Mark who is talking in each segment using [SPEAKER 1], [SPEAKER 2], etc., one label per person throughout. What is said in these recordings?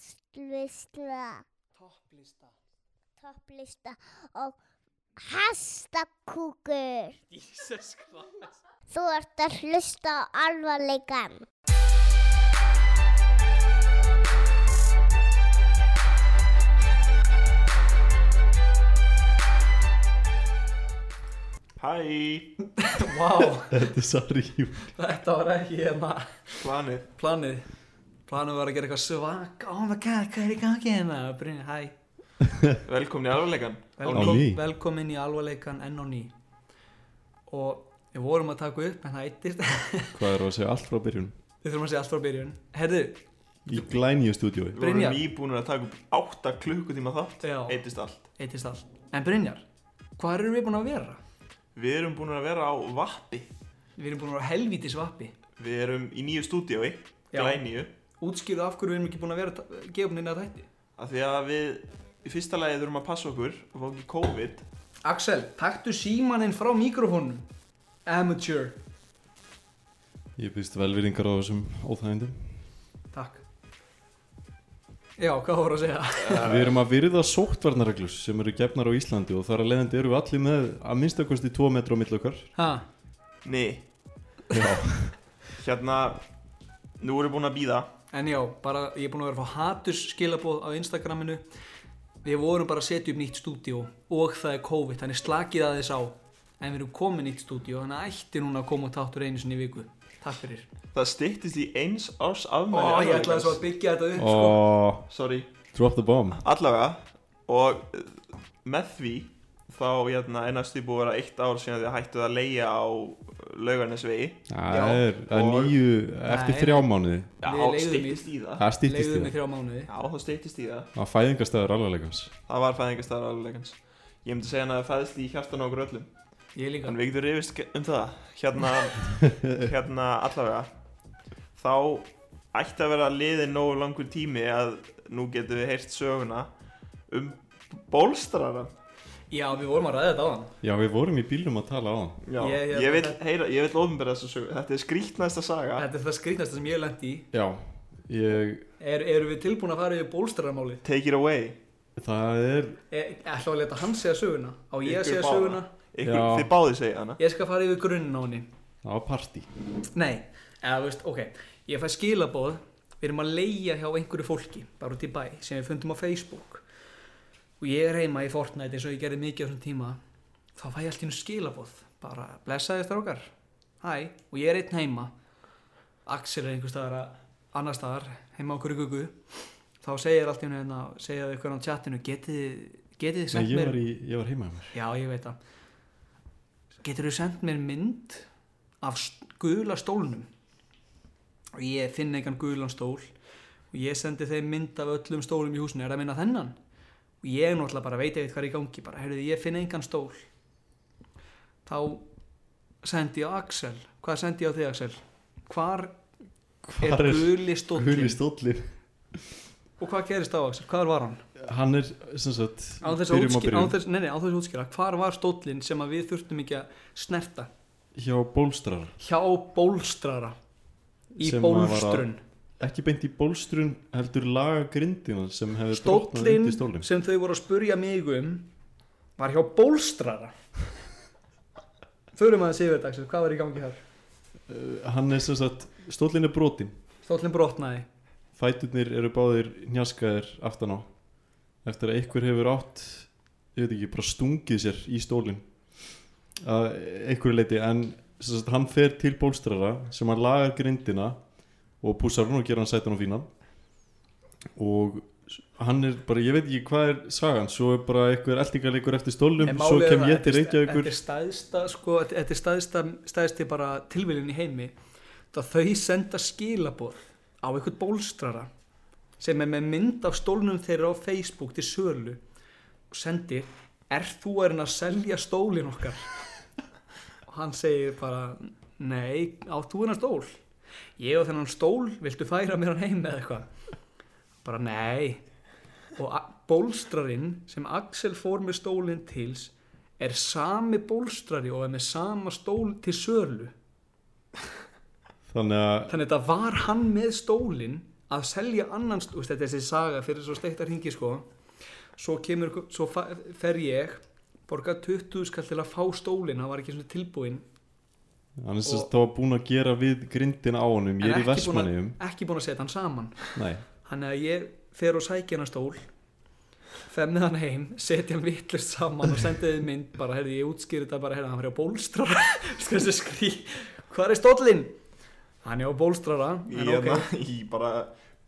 [SPEAKER 1] topplista,
[SPEAKER 2] Topplista.
[SPEAKER 1] topplista og hastakúkur.
[SPEAKER 2] Jesus Christ.
[SPEAKER 1] Þú ert að hlusta á alvarleikan.
[SPEAKER 3] Hæ,
[SPEAKER 2] Vá,
[SPEAKER 4] Þetta er sorry Júli.
[SPEAKER 2] þetta var ekki hérna
[SPEAKER 3] planið.
[SPEAKER 2] planið. Planið var að gera eitthvað svak. Oh my god, hvað er í gangi hérna? Brynja, hæ.
[SPEAKER 3] Velkomin í alvarleikan.
[SPEAKER 4] Á
[SPEAKER 2] Velkom,
[SPEAKER 4] ný.
[SPEAKER 2] velkomin í alvarleikan enn og ný. Og við vorum að taka upp en það eittist. við
[SPEAKER 4] Hvað er að segja allt frá byrjun?
[SPEAKER 2] þurfum að segja allt frá byrjun. Herðu,
[SPEAKER 4] Í glænju stúdiói.
[SPEAKER 3] Við vorum
[SPEAKER 2] Brynjar.
[SPEAKER 3] nýbúinir að taka upp 8 klukkutíma þátt,
[SPEAKER 2] Já.
[SPEAKER 3] eittist allt.
[SPEAKER 2] eittist allt. En Brynjar, hvað erum við búin að vera?
[SPEAKER 3] Við erum búin að vera á vappi.
[SPEAKER 2] Við erum búin að vera á helvítis vappi.
[SPEAKER 3] Við erum í nýju stúdiói,
[SPEAKER 2] Já.
[SPEAKER 3] glænýju,
[SPEAKER 2] Útskýrðu af hverju við erum ekki búin að vera að gefa upp neina þætti.
[SPEAKER 3] af því að við í fyrsta lagi þurfum að passa okkur og fá ekki COVID.
[SPEAKER 2] Axel, taktu símaninn frá mikrofónum. Amateur.
[SPEAKER 4] Ég byrst velvýringar á þessum óþægindum.
[SPEAKER 2] Takk. Já, hvað voru að segja?
[SPEAKER 4] Við erum að virða sóttvarnarreglur sem eru gefnar á Íslandi og þar að leiðandi eru við allir með að minnstakosti 2 metra á milli okkar.
[SPEAKER 2] Ha,
[SPEAKER 3] Nei,
[SPEAKER 4] Já.
[SPEAKER 3] hérna, nú erum við búin að býða.
[SPEAKER 2] en já, bara ég er búin að vera að fá haturs skilabóð á Instagraminu. Við vorum bara að setja upp nýtt stúdíó og það er COVID, þannig slakið aðeins á. En við erum komið nýtt stúdíó, þannig að ætti núna að koma og tátur einu sinni í viku. Takk fyrir.
[SPEAKER 3] Það styttist í eins árs
[SPEAKER 2] Ó,
[SPEAKER 3] afmæli.
[SPEAKER 2] ég ætlaði
[SPEAKER 3] Alvarleikans.
[SPEAKER 2] svo að byggja þetta upp, sko.
[SPEAKER 4] Og
[SPEAKER 3] Sorry.
[SPEAKER 4] drop the bomb.
[SPEAKER 3] Allavega, og eh, með því þá hérna, er næstu búið að vera eitt ár síðan því að hættu að leigja á eh, laugarnesvegi.
[SPEAKER 2] Já.
[SPEAKER 4] Það er, það er
[SPEAKER 3] Og-
[SPEAKER 4] nýju eftir
[SPEAKER 2] Nei,
[SPEAKER 4] þrjá mánuði.
[SPEAKER 3] Já,
[SPEAKER 2] Við leigðum í-
[SPEAKER 3] styttist í það.
[SPEAKER 4] Það stýttist
[SPEAKER 2] Leigðum í
[SPEAKER 4] í það.
[SPEAKER 2] þrjá mánuði.
[SPEAKER 3] Já, það styttist í það.
[SPEAKER 4] Það fæðingarstæður alvarleikans.
[SPEAKER 3] Það var fæðingarstæður alvegleikans. Ég myndi segja hann að það fæðist í hjartan á okkur öllum.
[SPEAKER 2] Ég líka.
[SPEAKER 3] En við getum rifist ge- um það. Hérna, hérna allavega. Þá ætti að vera liðin nógu langur tími að nú getum við heyrt söguna um bólstrara.
[SPEAKER 2] Já, við vorum að ræða þetta á hann.
[SPEAKER 4] Já, við vorum í bílum að tala á það.
[SPEAKER 3] Já,
[SPEAKER 2] Ég- hérna-
[SPEAKER 3] ég,
[SPEAKER 2] ég-
[SPEAKER 3] vil heyra, ég vil ofnbæra þessu sögu. Þetta er skrítnæsta saga.
[SPEAKER 2] Þetta er það skrítnasta sem ég hef lent í.
[SPEAKER 4] Já, ég,
[SPEAKER 2] Er, eru við tilbúin að fara yfir bólstrarmálið?
[SPEAKER 3] Take it away
[SPEAKER 4] það er,
[SPEAKER 2] Ég ætla að leta hann segja söguna á ég að
[SPEAKER 3] Ykkur
[SPEAKER 2] segja
[SPEAKER 3] báða.
[SPEAKER 2] söguna
[SPEAKER 3] Ykkur,
[SPEAKER 4] Já.
[SPEAKER 3] Þið báði segja hana
[SPEAKER 2] ég skal fara yfir grunninn á henni
[SPEAKER 4] það var partí.
[SPEAKER 2] nei, eða þú veist, ok ég fæ skilaboð, við erum að leia hjá einhverju fólki, bara út í bæ sem við fundum á Facebook og ég er heima í Fortnite eins og ég gerði mikið á þessum tíma þá fæ ég allt í hennu skilaboð bara blessaði strákar hæ, og ég er einn heima Axel er einhver staðar að- annar staðar, heima á Kurugugu þá segir allt í hennu hérna segja þau hvernig á chatinu, getið getið þið
[SPEAKER 4] Nei,
[SPEAKER 2] sent
[SPEAKER 4] ég
[SPEAKER 2] mér
[SPEAKER 4] var, í, ég var heima hjá mér.
[SPEAKER 2] Já, ég veit það. Getur þú sendt mér mynd af s- gula stólnum? Og ég finn einhvern gulan stól og ég sendi þeim mynd af öllum stólum í húsinu. Er það að minna þennan? Og ég náttúrulega bara veit eitthvað hvað er í gangi. Bara, heyrðu, ég finn einhvern stól. Þá sendi ég á Axel. Hvað sendi ég á þig, Axel? Hvar,
[SPEAKER 4] Hvar
[SPEAKER 2] er
[SPEAKER 4] er
[SPEAKER 2] guli stólinn?
[SPEAKER 4] Hulli stóllin.
[SPEAKER 2] Og hvað gerist á, Axel? Hvar var hann?
[SPEAKER 4] Hann er, sem sagt,
[SPEAKER 2] Án þess að
[SPEAKER 4] byrjum á
[SPEAKER 2] útskýra,
[SPEAKER 4] byrjun.
[SPEAKER 2] án þess, nei, nei, án þess að útskýra, hvar var stólinn sem að við þurftum ekki að snerta?
[SPEAKER 4] hjá bólstrar.
[SPEAKER 2] hjá bólstrara í
[SPEAKER 4] Sem maður var að-
[SPEAKER 2] bólstrun
[SPEAKER 4] Ekki beint í bólstrun, heldur laga grindina sem hefur brotnað
[SPEAKER 2] stóllin
[SPEAKER 4] undir stólinn.
[SPEAKER 2] sem þau voru að spurja mig um var hjá bólstrara þurfum að segja þetta Axel, hvað var í gangi þar
[SPEAKER 4] Uh, Hann er sem sagt, stóllin er brotinn.
[SPEAKER 2] stóllin brotnaði
[SPEAKER 4] Fæturnir eru báðir njaskaðir aftan á. Eftir að einhver hefur átt, ég veit ekki, bara stungið sér í stólinn. Að einhverju leiti, en sem sagt, hann fer til bólstrara sem hann lagar grindina og pússar hann og gera hann sætan og fínan. Og hann er bara, ég veit ekki hvað er sagan, svo er bara einhver eldingarleikur eftir stólnum,
[SPEAKER 2] En
[SPEAKER 4] svo
[SPEAKER 2] málið er
[SPEAKER 4] kem
[SPEAKER 2] það,
[SPEAKER 4] ég til
[SPEAKER 2] þetta er sta-
[SPEAKER 4] Reykjavíkur.
[SPEAKER 2] þetta er staðista, sko, þetta- þetta er staðista, staðisti bara tilviljun í heimi það þau senda skilaboð á einhvern bólstrara sem er með mynd af stólnum þeirra á Facebook til sölu og sendir er þú að reyna að selja stólin okkar og hann segir bara nei, á þú hennar stól ég og þennan stól, viltu færa mér hann heim eða eitthvað bara nei og a- bólstrarinn sem Axel fór með stólinn til er sami bólstrari og er með sama stól til sölu
[SPEAKER 4] Þannig að
[SPEAKER 2] þannig að þetta var hann með stólinn að selja annan, st- þú veist, þetta er þessi saga fyrir svo steiktar hingi sko svo kemur, einhver- svo fa- fer ég borga 20 skall til að fá stólinn hann var ekki svona tilbúinn
[SPEAKER 4] hann er
[SPEAKER 2] Og-
[SPEAKER 4] sérst þá búin að gera við grindin á honum, ég
[SPEAKER 2] En ekki
[SPEAKER 4] er í
[SPEAKER 2] búinn að-
[SPEAKER 4] Vestmanniðum
[SPEAKER 2] ekki búin að setja hann saman
[SPEAKER 4] nei,
[SPEAKER 2] Þannig að ég fer og sækja hennar stól fer með hann heim, setja hann vittlust saman og sendi þið mynd bara, heyrði, ég útskýri þetta bara, heyrði, hann fyrir á bólstrara sko þessi skrí, hvað er stólinn? Hann er á bólstrara
[SPEAKER 3] Í,
[SPEAKER 2] en
[SPEAKER 3] hérna,
[SPEAKER 2] ok,
[SPEAKER 3] í bara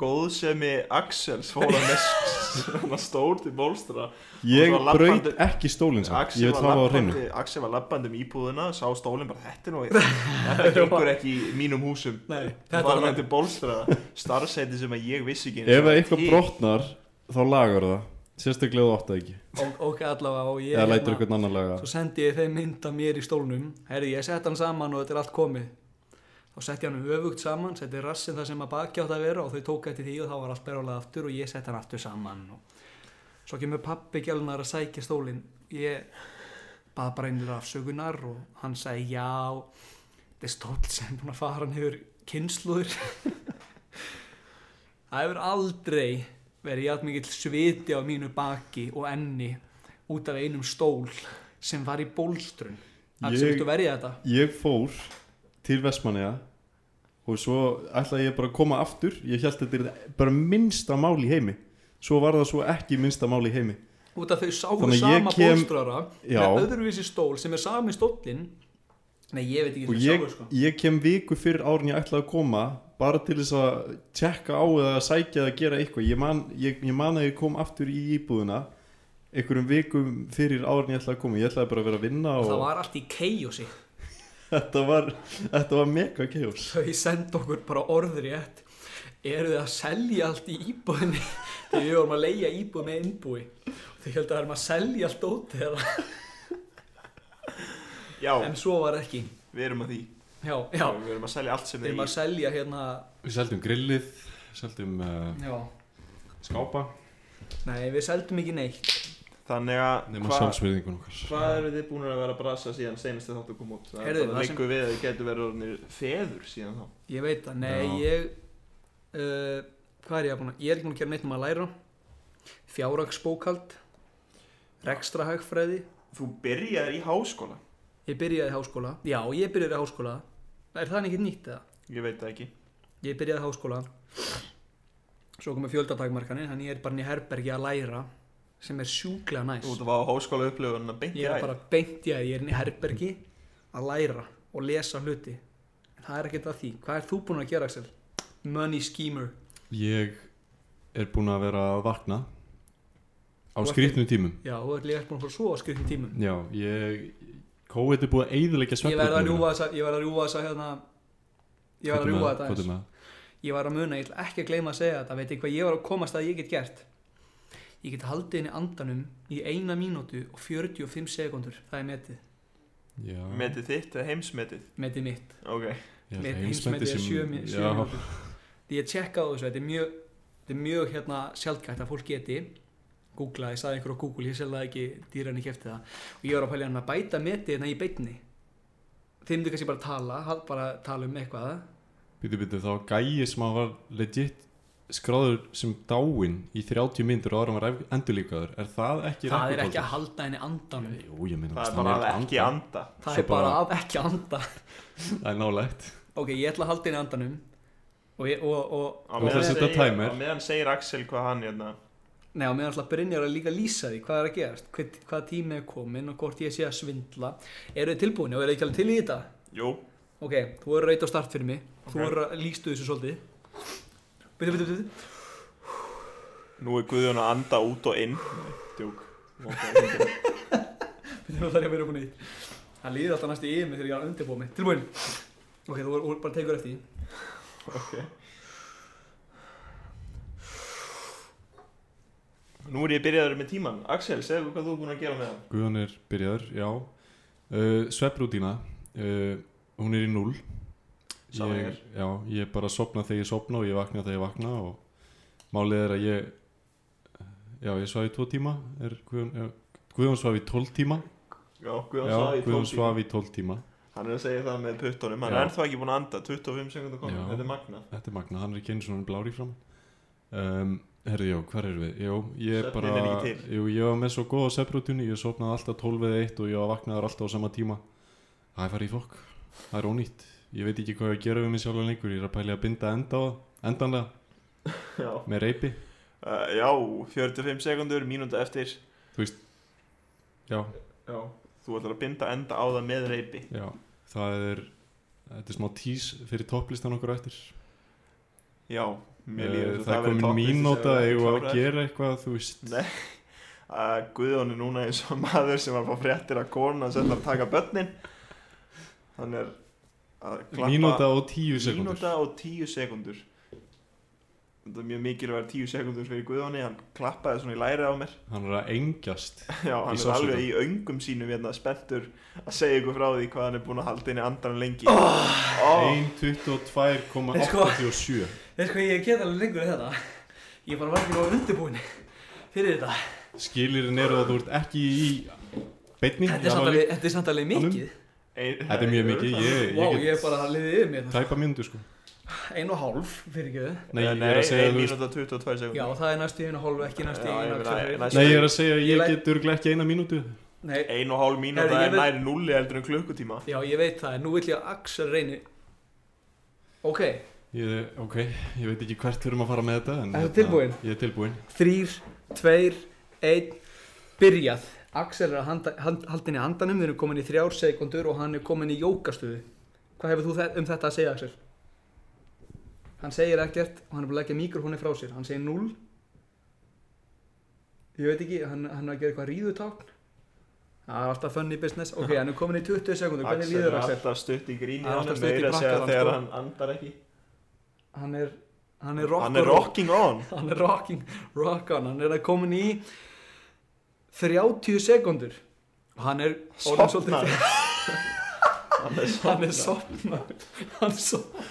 [SPEAKER 3] góðsemi Axels fóra með s- svona stór til bólstra
[SPEAKER 4] ég
[SPEAKER 3] Og svo
[SPEAKER 4] braut
[SPEAKER 3] labbandi-
[SPEAKER 4] ekki stólinn samt,
[SPEAKER 3] Axel
[SPEAKER 4] ég vil
[SPEAKER 3] var,
[SPEAKER 4] það á hreinu
[SPEAKER 3] labbandi, Axel var labbandi um íbúðuna sá stólinn bara þetta er nú þetta gengur ekki í mínum húsum
[SPEAKER 2] nei,
[SPEAKER 3] þetta
[SPEAKER 2] þetta
[SPEAKER 3] var
[SPEAKER 2] var
[SPEAKER 3] með til bólstra starfsæti sem að ég vissi ekki einu
[SPEAKER 4] ef
[SPEAKER 3] sinni
[SPEAKER 4] eitthvað
[SPEAKER 3] til.
[SPEAKER 4] brotnar þá lagar það, sérstaklega þú átt það ekki
[SPEAKER 2] og, ok, allavega og ég,
[SPEAKER 3] hérna-
[SPEAKER 2] hérna,
[SPEAKER 4] eða lætur eitthvað annar laga
[SPEAKER 2] svo sendi ég þeim mynd af mér í stólnum heyrði, ég setti hann saman og þetta er allt komið þá setti ég hann öfugt saman setti rassin það sem að baki átt að vera og þau tók eftir því og þá var allt berjálega aftur og ég setti hann aftur saman og svo kemur pappi gælunar að sækja stólinn ég bað bara einlega afsökunar og hann sagði já þetta er stóll sem er búin að fara hann hefur kynsluður það hefur aldrei verið játn mikill sviti á mínu baki og enni út af einum stól sem var í bólstrun það sem
[SPEAKER 4] Ég-
[SPEAKER 2] viltu verja þetta
[SPEAKER 4] ég fór til Vestmanniða og svo ætlaði ég bara að koma aftur ég held að þetta er bara minnsta mál í heimi svo var það svo ekki minnsta mál í heimi
[SPEAKER 2] út af þau sáu
[SPEAKER 4] Þannig að ég
[SPEAKER 2] sama
[SPEAKER 4] kem-
[SPEAKER 2] bólstrara
[SPEAKER 4] Já.
[SPEAKER 2] með öðruvísi stól sem er sami stólinn nei ég veit ekki
[SPEAKER 4] og
[SPEAKER 2] þau
[SPEAKER 4] ég,
[SPEAKER 2] sáu sko
[SPEAKER 4] ég kem viku fyrir árin ég ætlaði að koma bara til þess að tjekka á eða sækja eða gera eitthvað ég man, ég, ég man að ég kom aftur í íbúðuna einhverjum vikum fyrir árin ég ætlaði að koma ég ætlaði bara að vera að vinna og
[SPEAKER 2] það var allt í keijósi
[SPEAKER 4] þetta var, þetta var mega kjós
[SPEAKER 2] þau senda okkur bara orður í ett eru þið að selja allt í íbúðinni þegar við vorum að leia íbúð með innbúi þau heldur að það erum að selja allt út þeirra en
[SPEAKER 3] já,
[SPEAKER 2] svo var ekki
[SPEAKER 3] við erum að því
[SPEAKER 2] já, já,
[SPEAKER 3] við erum að selja allt sem
[SPEAKER 2] við erum
[SPEAKER 3] er
[SPEAKER 2] að
[SPEAKER 3] í
[SPEAKER 2] selja hérna
[SPEAKER 4] við seldum grillið, seldum uh,
[SPEAKER 2] já,
[SPEAKER 4] skápa
[SPEAKER 2] nei við seldum ekki neitt
[SPEAKER 3] þannig að
[SPEAKER 4] nema
[SPEAKER 3] hvað-
[SPEAKER 4] sjálfsverðingun okkar
[SPEAKER 3] Hvað eru þið búin að vera að brasa síðan senast þið þáttu að koma út? Það
[SPEAKER 2] Heyrðu,
[SPEAKER 3] er bara
[SPEAKER 2] það sem-
[SPEAKER 3] líku við að þið getur verið orðinir feður síðan þá.
[SPEAKER 2] ég veit það, nei
[SPEAKER 4] Já.
[SPEAKER 2] ég uh, hvað er ég að búin að ég er ekki búin að gera neitt um að læra fjárragsbókald rekstrahagfræði
[SPEAKER 3] Þú byrjar í háskóla.
[SPEAKER 2] ég byrjaði í háskóla, já ég byrjaði í háskóla er það ekki nýtt eða?
[SPEAKER 3] Ég veit það ekki.
[SPEAKER 2] ég byrjaði í háskóla svo komið fjöldatakmarkanir þannig ég er bara inn í herbergi að læra sem er sjúklega næs
[SPEAKER 3] Þú ert að fá háskóla upplifununa beint í
[SPEAKER 2] ég er
[SPEAKER 3] æð.
[SPEAKER 2] bara beint í að ég er inn í herbergi að læra og lesa hluti en það er ekkert að því, hvað er þú búin að gera Axel? Money schemer
[SPEAKER 4] Ég er búinn að vera að vakna á
[SPEAKER 2] Þú ert-
[SPEAKER 4] skrýtnum tímum
[SPEAKER 2] já, þú ert líka ekki búin að fara svo á skrifnum tímum
[SPEAKER 4] Já, ég COVID er búið að eyðileggja
[SPEAKER 2] ég verð að
[SPEAKER 4] svefnröfnum
[SPEAKER 2] rjúfa þessa, ég verð að rjúfa þessa hérna ég verð að rjúfa þetta aðeins ég var að muna, ég ætla ekki að gleyma að segja þetta veit ég hvað ég var að komast að ég get gert ég get haldið henni andanum í eina mínútu og 45 sekundur það er metið,
[SPEAKER 4] Já,
[SPEAKER 3] Metið þitt eða heimsmetið.
[SPEAKER 2] metið mitt
[SPEAKER 3] Ok.
[SPEAKER 4] ég held að
[SPEAKER 2] Met,
[SPEAKER 4] heimsmetið
[SPEAKER 2] heimsmetið er
[SPEAKER 4] sem-
[SPEAKER 2] 7 mínútur
[SPEAKER 4] Já,
[SPEAKER 2] því ég tjekka á þessu, þetta er mjög þetta er mjög hérna sjálfkætt að fólk geti googla, ég saði einhver á Google ég selða ekki dýran í kæfti það og ég var að pælja hann að bæta metið hérna í beinni þeim myndu kannski bara tala hal- bara tala um eitthvað
[SPEAKER 4] býtu býtu þá gæi sem að var legit skráður sem dáinn í 30 myndur og ára var endurlíkaður er það ekki
[SPEAKER 2] það er ekki
[SPEAKER 4] rekkjutóldur?
[SPEAKER 2] að halda henni andanum
[SPEAKER 4] Jú, ég minna
[SPEAKER 3] Það er bara að ekki anda.
[SPEAKER 2] það
[SPEAKER 4] Svo
[SPEAKER 2] er bara
[SPEAKER 4] bara-
[SPEAKER 2] að ekki anda
[SPEAKER 4] Það er nálægt
[SPEAKER 2] ok, ég ætla að halda inn í andanum og, ég, og, og
[SPEAKER 3] Á
[SPEAKER 4] Þú ætlar að
[SPEAKER 3] meðan
[SPEAKER 4] setja
[SPEAKER 3] segir-
[SPEAKER 4] timer.
[SPEAKER 3] Á meðan segir Axel hvað hann hérna.
[SPEAKER 2] Nei, og meðan alltaf Brynjar að líka lýsa því hvað er að gerast, hvað, hvað tími er komin og hvort ég sé að svindla eru þið tilbúin og eru þið ekki alveg til í þetta
[SPEAKER 3] Jú.
[SPEAKER 2] ok, þú eru reyta á start fyrir mig
[SPEAKER 3] Ok.
[SPEAKER 2] þú eru að lístu þessu svolítið byrju, byrju, byrju
[SPEAKER 3] Nú er Guðjón að anda út og inn. Nei, Djúk. Ok.
[SPEAKER 2] byrju, það er að vera upp og neitt það líður alltaf næstu yfir mig þegar ég er að undirbúa mig tilbúin, ok, þú eru bara tegur eftir því.
[SPEAKER 3] Ok. Nú er ég byrjaður með tíman. Axel, segðu hvað þú er búin að gera með hann.
[SPEAKER 4] Guðan er byrjaður, já uh, Svefnrútína uh, Hún er í null
[SPEAKER 3] Sama
[SPEAKER 4] ég, Já, ég bara sopna þegar ég sopna og ég vakna þegar ég vakna og málið er að ég Já, ég svaf í tvo tíma er Guðjón, já, Guðjón svaf í tól tíma
[SPEAKER 3] Já, Guðjón
[SPEAKER 4] Já,
[SPEAKER 3] svaf í
[SPEAKER 4] Guðjón
[SPEAKER 3] tólf tíma.
[SPEAKER 4] svaf í tól tíma
[SPEAKER 3] Hann er að segja það með puttunum Hann
[SPEAKER 4] Já.
[SPEAKER 3] er ennþá ekki búin að anda 25 sekundar komið
[SPEAKER 4] Já.
[SPEAKER 3] Þetta er magna
[SPEAKER 4] Þetta er magna, hann er ekki einu svona blári fram um, Herri, já, hvar erum við? Jó, ég
[SPEAKER 3] Svefninn
[SPEAKER 4] bara
[SPEAKER 3] er ekki til.
[SPEAKER 4] Jú, ég var með svo góða sefrútinu Ég sopnaði alltaf 12 eða 1 og ég var vaknaður alltaf á sama tíma Það er farið í fokk Það er ónýtt Ég veit ekki hvað ég að gera við mig sjálfan lengur Ég er að pæli að binda enda á það Endanlega,
[SPEAKER 3] já.
[SPEAKER 4] með reypi
[SPEAKER 3] Uh, já, 45 sekundur, mínúnda eftir
[SPEAKER 4] Þú veist Já,
[SPEAKER 3] Já Þú ætlar að binda enda á það með reypi
[SPEAKER 4] já Það er Þetta er smá tís fyrir topplistan okkur á eftir
[SPEAKER 3] Já, mér
[SPEAKER 4] Eh,
[SPEAKER 3] líður
[SPEAKER 4] Það er komin mínóta Ég var að gera eitthvað, þú veist
[SPEAKER 3] Nei, að Eh, Guðjón er núna eins og maður sem var að fá fréttir að kona sem ætlar að taka börnin Hann er að klappa
[SPEAKER 4] Mínúta og tíu sekundur
[SPEAKER 3] Mínúta og tíu sekundur Þetta er mjög mikilvæg tíu sekundur fyrir Guðjóni, hann klappaði svona í læri á mér
[SPEAKER 4] Hann er að engjast
[SPEAKER 3] Já, hann er
[SPEAKER 4] sársauka.
[SPEAKER 3] alveg í öngum sínum hérna spenntur að segja ykkur frá því hvað hann er búin að halda inn í andan lengi oh,
[SPEAKER 4] 1.22,87
[SPEAKER 2] Veist hvað ég get alveg lengur í þetta? Ég bara var ekki á undirbúin fyrir þetta.
[SPEAKER 4] Skilirinn eru að þú ert ekki í beinni
[SPEAKER 2] Þetta er samt alveg- þetta er samt alveg mikið.
[SPEAKER 3] ein,
[SPEAKER 4] Þetta er mjög mikið, ég,
[SPEAKER 2] Vá,
[SPEAKER 4] ég
[SPEAKER 2] ég er bara að liðið yfir mér.
[SPEAKER 4] get tæpa myndu sko
[SPEAKER 2] Ein og hálf, fyrir ekki við.
[SPEAKER 4] Nei, ég
[SPEAKER 3] nei,
[SPEAKER 4] er að segja
[SPEAKER 3] ein
[SPEAKER 4] þú veist
[SPEAKER 3] mínúta 22 sekundur
[SPEAKER 2] Já, það er næstu í einu hálf, ekki næstu í
[SPEAKER 3] Já, ég
[SPEAKER 2] einu
[SPEAKER 3] meina,
[SPEAKER 2] hálf.
[SPEAKER 3] næstu-
[SPEAKER 4] Nei, ég er að segja að
[SPEAKER 2] Ég
[SPEAKER 4] ég
[SPEAKER 2] læt-
[SPEAKER 4] get örglega ekki eina mínútu
[SPEAKER 2] Nei,
[SPEAKER 3] Ein og hálf mínúta
[SPEAKER 2] Herri, ég
[SPEAKER 3] er
[SPEAKER 2] veit-
[SPEAKER 3] næri nulli heldur en klukkutíma
[SPEAKER 2] já, ég veit það, en nú vill ég að Axel reyni. Ok,
[SPEAKER 4] ég, Ok, ég veit ekki hvert þurfum að fara með þetta en
[SPEAKER 2] Ertu
[SPEAKER 4] hérna,
[SPEAKER 2] tilbúinn?
[SPEAKER 4] Ég er tilbúin
[SPEAKER 2] þrýr, tveir, einn, byrjað. Axel er að handa- hand- halda inn í handanum, við erum komin í þrjár sekundur og hann er komin í jókastöðu. Hvað hefur þú þe- um þetta að segja, Axel? Hann segir ekkert og hann er búin að leggja mikrofóni frá sér. Hann segir 0. Ég veit ekki, hann, hann er að gera eitthvað ríðutákn. Það er alltaf funny business. Ok, hann er komin í 20 sekundur. Hvernig
[SPEAKER 3] Axel
[SPEAKER 2] líður
[SPEAKER 3] er
[SPEAKER 2] Axel?
[SPEAKER 3] alltaf stutt í gríni
[SPEAKER 2] Hann er alltaf
[SPEAKER 3] honum,
[SPEAKER 2] stutt í
[SPEAKER 3] meira að segja
[SPEAKER 2] brakkarann,
[SPEAKER 3] þegar
[SPEAKER 2] sko.
[SPEAKER 3] hann andar ekki
[SPEAKER 2] Hann er, hann er rock
[SPEAKER 3] Hann er
[SPEAKER 2] og roll.
[SPEAKER 3] rocking on
[SPEAKER 2] hann er rocking, rock on hann er að komin í 30 sekundur og hann er orðinn
[SPEAKER 3] Sofnar
[SPEAKER 2] svolítið-
[SPEAKER 3] Hann
[SPEAKER 2] hann
[SPEAKER 3] er
[SPEAKER 2] er
[SPEAKER 3] sofnar
[SPEAKER 2] sopnar hann er sopnar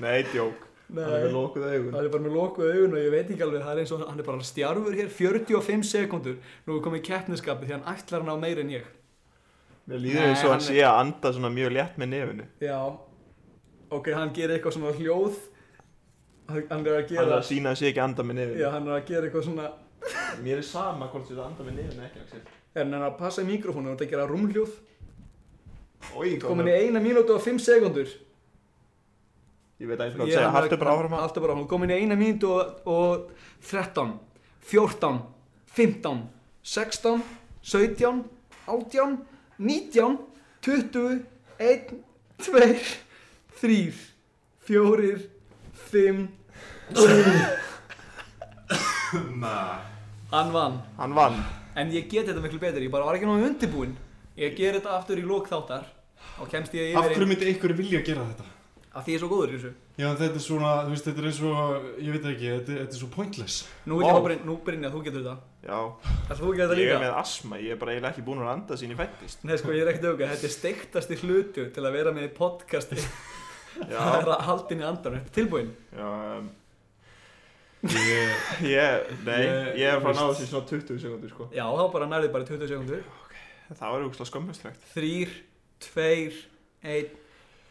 [SPEAKER 3] Nei, djók Hann er með
[SPEAKER 2] hann
[SPEAKER 3] lókuð augun
[SPEAKER 2] er bara með lokuð augun og ég veit ekki alveg það er eins og hann er bara stjarfur hér 45 sekundur nú er komið keppniskapi því hann ætlar hann á meir en ég
[SPEAKER 3] Mér líður
[SPEAKER 2] Nei,
[SPEAKER 3] eins og hann
[SPEAKER 2] hann er-
[SPEAKER 3] sé að anda svona mjög létt með nefinu
[SPEAKER 2] já ok, hann gerir eitthvað svona hljóð hann hann er að
[SPEAKER 3] Hann er
[SPEAKER 2] gera
[SPEAKER 3] að sína að sé ekki að anda með nefinu
[SPEAKER 2] já, hann er að gera eitthvað svona
[SPEAKER 3] Mér er sama hvort þú ert að anda með nefinu ekki Axel
[SPEAKER 2] en hann er að passa í mikrofónu og þetta gera rúmhljóð
[SPEAKER 3] Ói,
[SPEAKER 2] komin í eina mínútu og 5 sekundur
[SPEAKER 3] Ég veit ekki hvað
[SPEAKER 2] Ég
[SPEAKER 3] að segja,
[SPEAKER 2] hann-
[SPEAKER 3] haldur bara áfram að
[SPEAKER 2] Haltu bara áfram, komin í eina mínútu og, og 13, 14, 15, 16, 17, 18, 19, 20, 1, 2, 3, 4, 5, hann vann.
[SPEAKER 3] Hann vann
[SPEAKER 2] En ég get þetta miklu betur, ég bara var ekki náðu undirbúinn. Ég ger þetta aftur í lók þáttar og kemst ég
[SPEAKER 4] Af
[SPEAKER 2] yfir
[SPEAKER 4] hverju myndi ykkur vilja gera þetta?
[SPEAKER 2] að því ég er svo góður í þessu.
[SPEAKER 4] Já, þetta er svona, þú veist, þetta er eins og, ég veit ekki, þetta, þetta er svo pointless
[SPEAKER 2] Nú, vil ég
[SPEAKER 3] Vá.
[SPEAKER 2] fá Bryn- nú Brynja, þú getur þetta.
[SPEAKER 3] Já,
[SPEAKER 2] Það þú getur þetta
[SPEAKER 3] ég
[SPEAKER 2] líka.
[SPEAKER 3] er með asma, ég er bara eiginlega ekki búin að anda sín í fættist
[SPEAKER 2] Nei sko ég er ekkert auðvitað, þetta er steiktasti hlutu til að vera með í podcasti Það
[SPEAKER 3] Já,
[SPEAKER 2] er að halda inn í andan, þetta er tilbúin
[SPEAKER 3] já um,
[SPEAKER 4] Ég,
[SPEAKER 3] Ég, nei,
[SPEAKER 4] Ég-
[SPEAKER 3] ég er að fara að ná
[SPEAKER 4] veist-
[SPEAKER 3] þessi svona 20 sekundur sko
[SPEAKER 2] Já þá bara nærðið bara 20 sekundur
[SPEAKER 3] Það var auðvitað skömmustrekt
[SPEAKER 2] 3, 2, 1,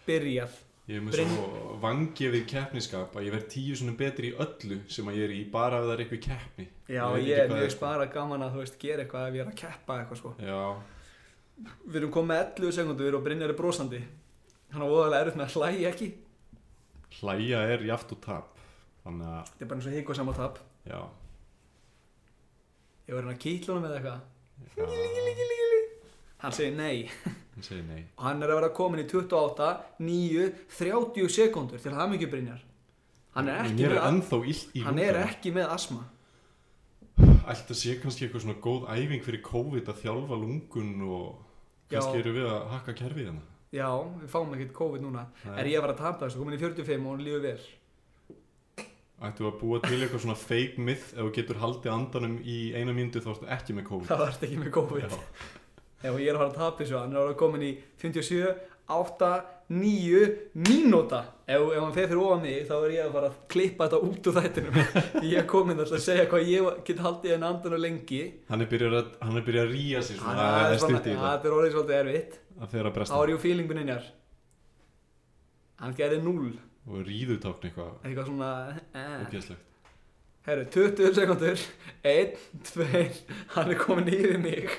[SPEAKER 2] byrjað
[SPEAKER 4] Ég er með svo vangefið keppniskap að ég verð tíu svona betri í öllu sem að ég er í bara ef það er eitthvað keppni.
[SPEAKER 2] Já
[SPEAKER 4] veit
[SPEAKER 2] ég
[SPEAKER 4] ekki
[SPEAKER 2] er
[SPEAKER 4] hvað
[SPEAKER 2] mjög
[SPEAKER 4] sko.
[SPEAKER 2] bara gaman að þú veist gera eitthvað ef ég er að keppa eitthvað sko
[SPEAKER 4] Já,
[SPEAKER 2] Við erum komið með 11 sekundur og Brynjar er brosandi Hann er óðalega erut með að hlæja ekki
[SPEAKER 4] hlæja er jaft og tap. Þannig að,
[SPEAKER 2] Þetta er bara eins og híku saman tap
[SPEAKER 4] já.
[SPEAKER 2] Ég var hann að kýtla honum eða eitthvað
[SPEAKER 4] já
[SPEAKER 2] Hann segir nei
[SPEAKER 4] hann segir nei.
[SPEAKER 2] og hann er að vera komin í 28, 9, 30 sekundur til hamingju Brynjar Hann er ekki
[SPEAKER 4] Mér er
[SPEAKER 2] að-
[SPEAKER 4] ennþá illt í
[SPEAKER 2] hann er ekki með asma
[SPEAKER 4] Ætti að sé kannski eitthvað svona góð æfing fyrir COVID að þjálfa lungun og
[SPEAKER 2] Já.
[SPEAKER 4] kannski eru við að hakka kerfið hérna.
[SPEAKER 2] já, við fáum ekkert COVID núna
[SPEAKER 4] Nei.
[SPEAKER 2] er ég að fara að tapa þessu, komin í 45 og hún líður vel
[SPEAKER 4] Ættu að búa til eitthvað svona fake myth ef þú getur haldið andanum í eina myndu þá ertu ekki með COVID.
[SPEAKER 2] það vart ekki með COVID
[SPEAKER 4] Já.
[SPEAKER 2] ef ég er að fara að tapa þessu, hann er að vera komin í 57 átta, níu mínúta ef, ef hann fer fyrir ofan mig þá er ég að fara að klippa þetta út úr þættinum ég er komin alltaf að segja hvað ég get haldið en andan og lengi
[SPEAKER 4] Hann er byrjað að, hann er byrjað að ríja sér svona
[SPEAKER 2] það
[SPEAKER 4] Það
[SPEAKER 2] er
[SPEAKER 4] er stutt í
[SPEAKER 2] svona-
[SPEAKER 4] þetta
[SPEAKER 2] þetta er orðið svolítið erfitt
[SPEAKER 4] Það fer að
[SPEAKER 2] þá
[SPEAKER 4] bresta
[SPEAKER 2] er ég fílingun einjar hann gerði 0
[SPEAKER 4] Og ríðutákn eitthvað
[SPEAKER 2] eitthvað svona eh.
[SPEAKER 4] ógeðslegt
[SPEAKER 2] Herru, 20 sekundur 1, 2, hann er komin yfir mig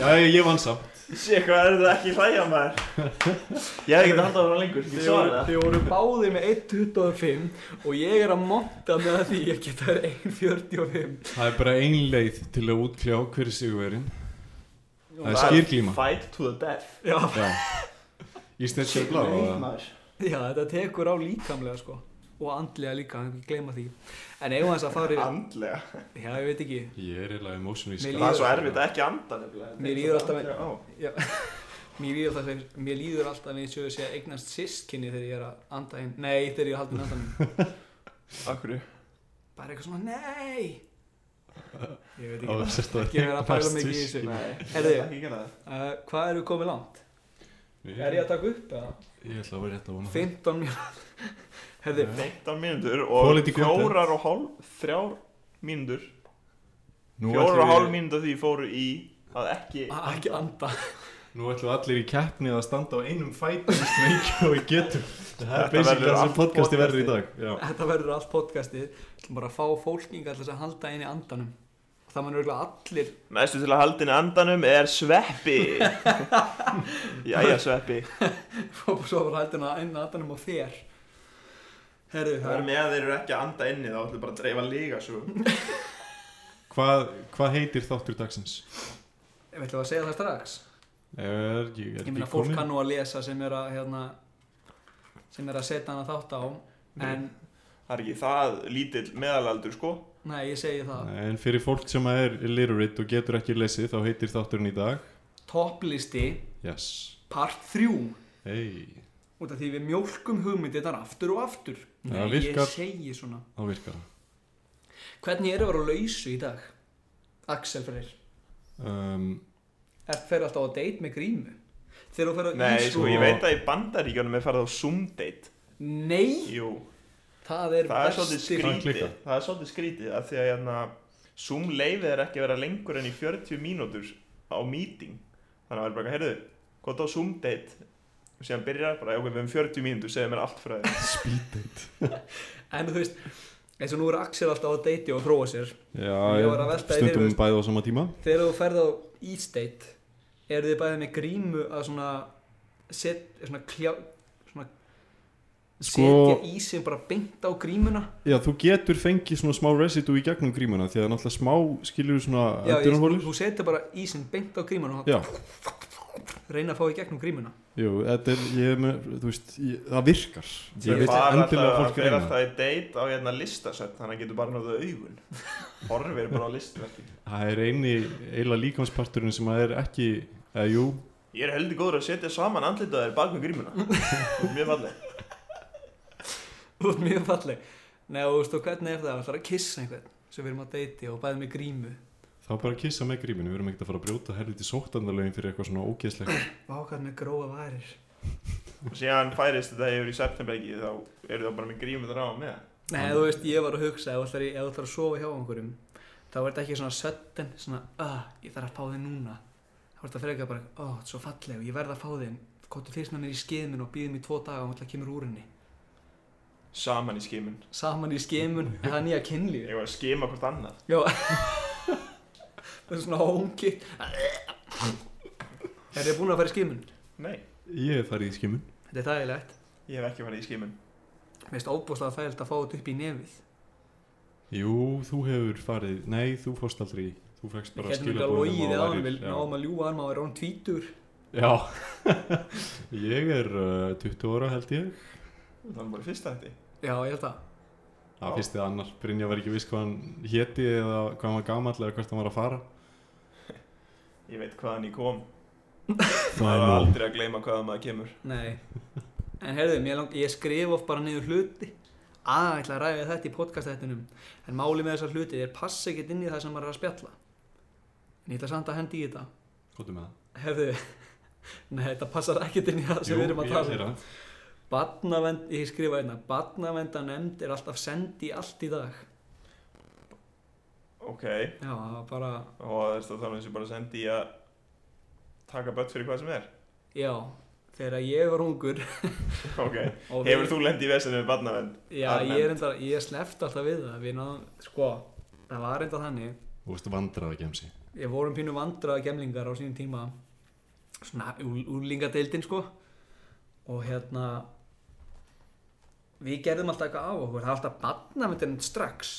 [SPEAKER 4] Já, ég, ég vann samt
[SPEAKER 3] Sér hvað er þetta ekki hlæja maður Ég hef ekki haldið að vera lengur Ég
[SPEAKER 2] Þið
[SPEAKER 3] svar
[SPEAKER 2] voru,
[SPEAKER 3] það
[SPEAKER 2] þið voru báðið með 1.25 og ég er að monta með því ég geta verið 1.45
[SPEAKER 4] Það er bara ein leið til að útkljá hver er sigurverinn Það er
[SPEAKER 3] Það er
[SPEAKER 4] skýrklíma
[SPEAKER 3] Fight to the death
[SPEAKER 2] já,
[SPEAKER 4] Já Ísnett sér blá
[SPEAKER 3] Nei,
[SPEAKER 4] og-
[SPEAKER 3] maður.
[SPEAKER 2] já, þetta tekur á líkamlega sko og andlega líka, hann ekki gleyma því en eigum hans að fara yfir,
[SPEAKER 3] Andlega
[SPEAKER 2] já, ég veit ekki
[SPEAKER 4] Ég er eiginlega emotionally
[SPEAKER 2] Mér
[SPEAKER 3] Það er
[SPEAKER 4] skarð.
[SPEAKER 3] svo erfitt að ekki anda nefnilega
[SPEAKER 2] Mér líður alltaf með-
[SPEAKER 3] Ó.
[SPEAKER 2] já, mér líður alltaf fyrir- mér líður alltaf eins og ég sé að eignast sískinni þegar ég er að anda hinn nei, þegar ég er að halda hinn andan
[SPEAKER 3] Akkur
[SPEAKER 2] bara eitthvað svona, nei ég veit
[SPEAKER 4] Á,
[SPEAKER 2] ekki
[SPEAKER 4] sérst að-
[SPEAKER 2] ekki verið að pæla
[SPEAKER 4] Næst
[SPEAKER 2] mikið í
[SPEAKER 4] við-
[SPEAKER 2] þessu
[SPEAKER 3] Nei,
[SPEAKER 2] Heyrðu.
[SPEAKER 3] ég ætla ekki að gera það
[SPEAKER 2] uh, hvað eru komið langt?
[SPEAKER 4] Ég-
[SPEAKER 2] er ég að taka upp eða?
[SPEAKER 4] Ég ætla að vera rétt að vona
[SPEAKER 2] 15 mínútur herði,
[SPEAKER 3] 15 mínútur og
[SPEAKER 4] Quality content.
[SPEAKER 3] fjórar og hálf Þrjár mínútur
[SPEAKER 4] Nú
[SPEAKER 3] Fjórar og
[SPEAKER 4] ætlum
[SPEAKER 3] hálf
[SPEAKER 4] við-
[SPEAKER 3] mínútur því fóru í að ekki
[SPEAKER 2] ekki anda
[SPEAKER 4] Nú ætlum allir í keppni að standa á einum fætum sem ekki og við getum Það er
[SPEAKER 3] Þetta
[SPEAKER 4] basically
[SPEAKER 3] verður
[SPEAKER 4] það sem
[SPEAKER 3] allt
[SPEAKER 4] podcasti verður í dag
[SPEAKER 3] podcastið.
[SPEAKER 4] Já.
[SPEAKER 2] þetta verður allt podcastið Við ætlum bara að fá fólkinga til þess að halda inn í andanum það mann örgulega allir
[SPEAKER 3] Næstu til að haldin í andanum er sveppi Jæja sveppi
[SPEAKER 2] og svo var haldin að inn í andanum á þér herði, það
[SPEAKER 3] Og
[SPEAKER 2] er
[SPEAKER 3] með þeir eru ekki að anda inni þá ætlum bara að dreifa sko. líka svo
[SPEAKER 4] Hvað hva heitir þáttur dagsins?
[SPEAKER 2] við ætlum að segja það strax
[SPEAKER 4] Er, ég, er
[SPEAKER 2] ég meina
[SPEAKER 4] ekki
[SPEAKER 2] fólk
[SPEAKER 4] komið?
[SPEAKER 2] kann nú að lesa sem er að hérna, sem er að setja hana þátt á en,
[SPEAKER 3] Það er ekki það lítill meðalaldur sko
[SPEAKER 2] nei, ég segi það
[SPEAKER 4] Nei, En fyrir fólk sem er illiterate og getur ekki lesið þá heitir þátturinn í dag
[SPEAKER 2] topplisti
[SPEAKER 4] Yes
[SPEAKER 2] part 3
[SPEAKER 4] Hey.
[SPEAKER 2] út af því við mjólkum hugmyndirnar aftur og aftur
[SPEAKER 4] Já,
[SPEAKER 2] Nei,
[SPEAKER 4] virkar.
[SPEAKER 2] ég segi svona
[SPEAKER 4] Þá virkar það
[SPEAKER 2] hvernig er að vera á lausu í dag? Axel Freyr
[SPEAKER 4] um,
[SPEAKER 2] er fer alltaf á date með grímu þegar þú fer á
[SPEAKER 3] Nei,
[SPEAKER 2] Ísland
[SPEAKER 3] sko, ég veit að í bandaríkjónum er farið á Zoom-date
[SPEAKER 2] nei,
[SPEAKER 3] Jú,
[SPEAKER 2] það er
[SPEAKER 3] það er
[SPEAKER 2] versti-
[SPEAKER 3] svolítið
[SPEAKER 4] Hann
[SPEAKER 3] skrítið
[SPEAKER 4] klikkar.
[SPEAKER 3] Það er svolítið skrítið að því að hérna, Zoom leifið er ekki að vera lengur en í 40 mínútur á meeting Þannig að það er bara, heyrðu, gott á Zoom-date og síðan byrjar bara, já, ok, við höfum 40 mínútur, segja mér allt frá þér
[SPEAKER 4] Speed date
[SPEAKER 2] en þú veist, eins og nú er Axel alltaf á date og þróa sér
[SPEAKER 4] Já,
[SPEAKER 2] Ég var að
[SPEAKER 4] ég,
[SPEAKER 2] velta því fyrir
[SPEAKER 4] stundum
[SPEAKER 2] mér.
[SPEAKER 4] bæði á sama tíma
[SPEAKER 2] þegar þú ferð á Ísland eru þið bæðið með grímu að svona set, svona kljá svona
[SPEAKER 4] Sko-
[SPEAKER 2] setja í sig bara beint á grímuna
[SPEAKER 4] Já, þú getur fengið svona smá residue í gegnum grímuna því að náttúrulega smá skilur svona
[SPEAKER 2] Já, ég,
[SPEAKER 4] öndunarholur
[SPEAKER 2] þú setja bara ísinn beint á grímuna og
[SPEAKER 4] Já,
[SPEAKER 2] reyna að fá í gegnum grímuna
[SPEAKER 4] jú, þetta er, ég, er með, þú veist, ég, það virkar Ég
[SPEAKER 3] Þeir
[SPEAKER 4] veit
[SPEAKER 3] fara
[SPEAKER 4] endilega að
[SPEAKER 3] alltaf-
[SPEAKER 4] fólk
[SPEAKER 3] þeir
[SPEAKER 4] reyna
[SPEAKER 3] alltaf í date á hérna listasett þannig að getur bara náðu augun Horfir bara á listverki
[SPEAKER 4] Það er eini eiginlega líkamsparturinn sem að er ekki, eða jú,
[SPEAKER 3] Ég er heldur góður að setja saman andlitaðir bak með grímuna Mjög falleg
[SPEAKER 2] Þú ert mjög falleg Nei og þú veist og hvernig er það að ætlar að kissa einhvern sem við erum að deiti og bæðið með grímu
[SPEAKER 4] þá bara kissa með gríminu, við erum ekkert að fara að brjóta helviti sóttandalögin fyrir eitthvað svona ógeðslegt.
[SPEAKER 2] Vá hvað með gróa varir
[SPEAKER 3] og síðan færist þetta yfir í septembergi þá eru það bara með grímur á með
[SPEAKER 2] Nei þú veist ég var að hugsa ef þú ætlar, í- ef þú ætlar að sofa hjá einhverjum þá er þetta ekki svona sötten svona uh, ég þarf að fá þig núna þá er þetta frekar bara ó oh, svo falleg og ég verð að fá þig en kóttu fyrst með mér í skeiðminn og býðum í tvo daga og alltaf kemur úr henni
[SPEAKER 3] saman í skimun
[SPEAKER 2] saman í skeiðminn en það er nýja kynlífi
[SPEAKER 3] ég var að skima hvort annað
[SPEAKER 2] Já Það er svona hóngi Er ég búin að fara í skimun?
[SPEAKER 3] nei,
[SPEAKER 4] Ég hef farið í skimun.
[SPEAKER 2] Þetta er þægilegt
[SPEAKER 3] ég hef ekki farið í skimun
[SPEAKER 2] Mér finnst óbúslega þægilegt að fá þetta upp í nefið
[SPEAKER 4] Jú, þú hefur farið, nei, þú fórst aldrei, í- þú fegst
[SPEAKER 2] Ég
[SPEAKER 4] bara
[SPEAKER 2] hérna mjög
[SPEAKER 4] skila
[SPEAKER 2] að logið eða hann vil
[SPEAKER 4] varir.
[SPEAKER 2] náum að ljúga hann maður er án tvítur
[SPEAKER 4] Já, já. ég er uh, 20 ára held ég,
[SPEAKER 3] það var bara í fyrsta þetta
[SPEAKER 2] Já, ég held að
[SPEAKER 4] það
[SPEAKER 3] Já.
[SPEAKER 4] fyrst eða annar, Brynja var ekki viss hvað hann héti eða hvað hann var gamall eða hvert hann var að fara.
[SPEAKER 3] ég veit hvaðan ég kom
[SPEAKER 4] Það
[SPEAKER 3] maður
[SPEAKER 4] er
[SPEAKER 3] er
[SPEAKER 4] nú.
[SPEAKER 3] aldrei að gleyma hvaðan maður kemur
[SPEAKER 2] Nei En heyrðu, mér lang, ég skrif of bara niður hluti að ég ætla að ræða þetta í podcastættinum en máli með þessar hluti er passa ekkert inn í það sem maður er að spjalla en ég ætla samt að hendi í þetta
[SPEAKER 4] Kvotum með það.
[SPEAKER 2] Herðu, Nei, þetta passar ekkert inn í það sem við erum að tala um. Batnavend, ég skrifa einna, batnavendanemnd er alltaf send í allt í dag.
[SPEAKER 3] ok,
[SPEAKER 2] Já, það var bara,
[SPEAKER 3] og þess að þannig sem bara sendi í að taka börn fyrir hvað sem er
[SPEAKER 2] já, þegar ég var ungur.
[SPEAKER 3] ok,
[SPEAKER 2] og
[SPEAKER 3] hefur
[SPEAKER 2] við-
[SPEAKER 3] þú lendi í vesinu með barnavend
[SPEAKER 2] Já,
[SPEAKER 3] almennt?
[SPEAKER 2] ég er enda, ég sleft alltaf við það, við náðum, sko, það var enda þannig,
[SPEAKER 4] Þú veist vandraða gemsi
[SPEAKER 2] ég vorum pínu vandraða gemlingar á sínum tíma, svona úl- úlingadeildin, sko, og hérna, við gerðum alltaf eitthvað af okkur, það var alltaf badnavendin strax,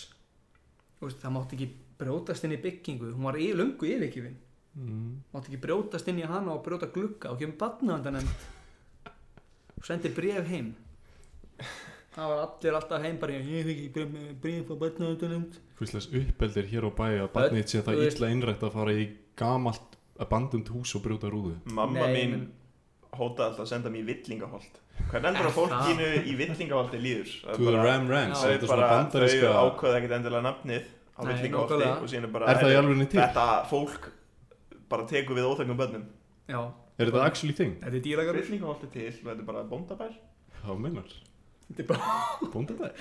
[SPEAKER 2] Þú veist, það mátti ekki brjótast inn í byggingu, hún var í lungu yfirkjöfin,
[SPEAKER 4] mm.
[SPEAKER 2] mátti ekki brjótast inn í hana og brjóta glugga og kemur badnavendanend og sendi bref heim það var allir alltaf heim bara ég hef ekki bref- bref á badnavendanend
[SPEAKER 4] Hvistlega uppeldir hér á bæi að barnið sé það
[SPEAKER 2] þú veist-
[SPEAKER 4] illa innrætt að fara í gamalt abandond hús og brjóta rúðu
[SPEAKER 3] mamma
[SPEAKER 2] Nei,
[SPEAKER 3] mín
[SPEAKER 2] men-
[SPEAKER 3] hóta alltaf að senda mér í villingaholt hvernig endur að fólkinu í villingaholti líður Það er
[SPEAKER 4] To the
[SPEAKER 3] bara-
[SPEAKER 4] Ram Ranch
[SPEAKER 3] það er
[SPEAKER 4] Þetta er
[SPEAKER 3] bara,
[SPEAKER 4] svona
[SPEAKER 3] þau
[SPEAKER 4] bandaríska
[SPEAKER 3] ákvaða ekkert endilega nafnið á
[SPEAKER 2] Nei,
[SPEAKER 3] villingaholti
[SPEAKER 2] nákvæmlega.
[SPEAKER 3] og síðan er bara
[SPEAKER 4] Er það í alveg til?
[SPEAKER 3] þetta fólk bara tekur við óþengum börnum
[SPEAKER 2] já,
[SPEAKER 4] Er þetta actually thing?
[SPEAKER 2] þetta er dýragarður
[SPEAKER 3] villingaholti til og þetta er bara bóndabær
[SPEAKER 4] Hvað meinar?
[SPEAKER 2] Þetta er bara-
[SPEAKER 4] Bóndabær?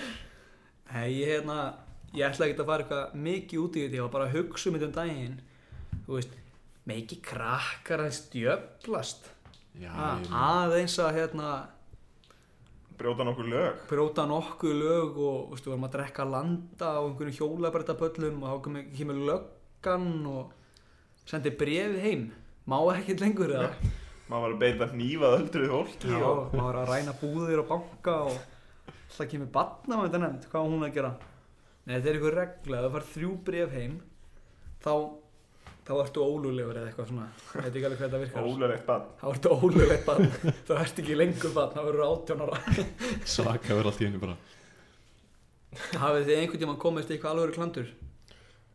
[SPEAKER 2] nei, ég hérna ég ætla ekki að fara eitthvað mikið út í þetta ég var bara að hugsa um þetta um daginn þú veist, mikið krakkar að stjöflast
[SPEAKER 4] Já,
[SPEAKER 3] Ah.
[SPEAKER 2] Ha,
[SPEAKER 4] ég meina,
[SPEAKER 2] aðeins að hérna
[SPEAKER 3] brjóta nokkur lög
[SPEAKER 2] brjóta nokkuð lög og veistu, varum að drekka landa á einhvern hjólabrættaböllum og þá kemur, kemur löggan og sendi brefið heim má ekkert lengur það
[SPEAKER 3] maður var að beita nýfað öldruð fólki
[SPEAKER 2] já,
[SPEAKER 3] og
[SPEAKER 2] maður að ræna búðir og banka og það kemur batna með þetta nefnd hvað á hún að gera nei, þetta er einhver regla, ef þú fær þrjú bref heim þá þá ertu ólulegur eða eitthvað svona ég veit ekki alveg hvað þetta virkar
[SPEAKER 3] ólulegt bann
[SPEAKER 2] þá ertu ólulegt bann, þá ertu ekki lengur bann þá eru átjónara
[SPEAKER 4] Saka verður allt í henni bara
[SPEAKER 2] hafið þið einhvern tíma komist í eitthvað alvegur klandur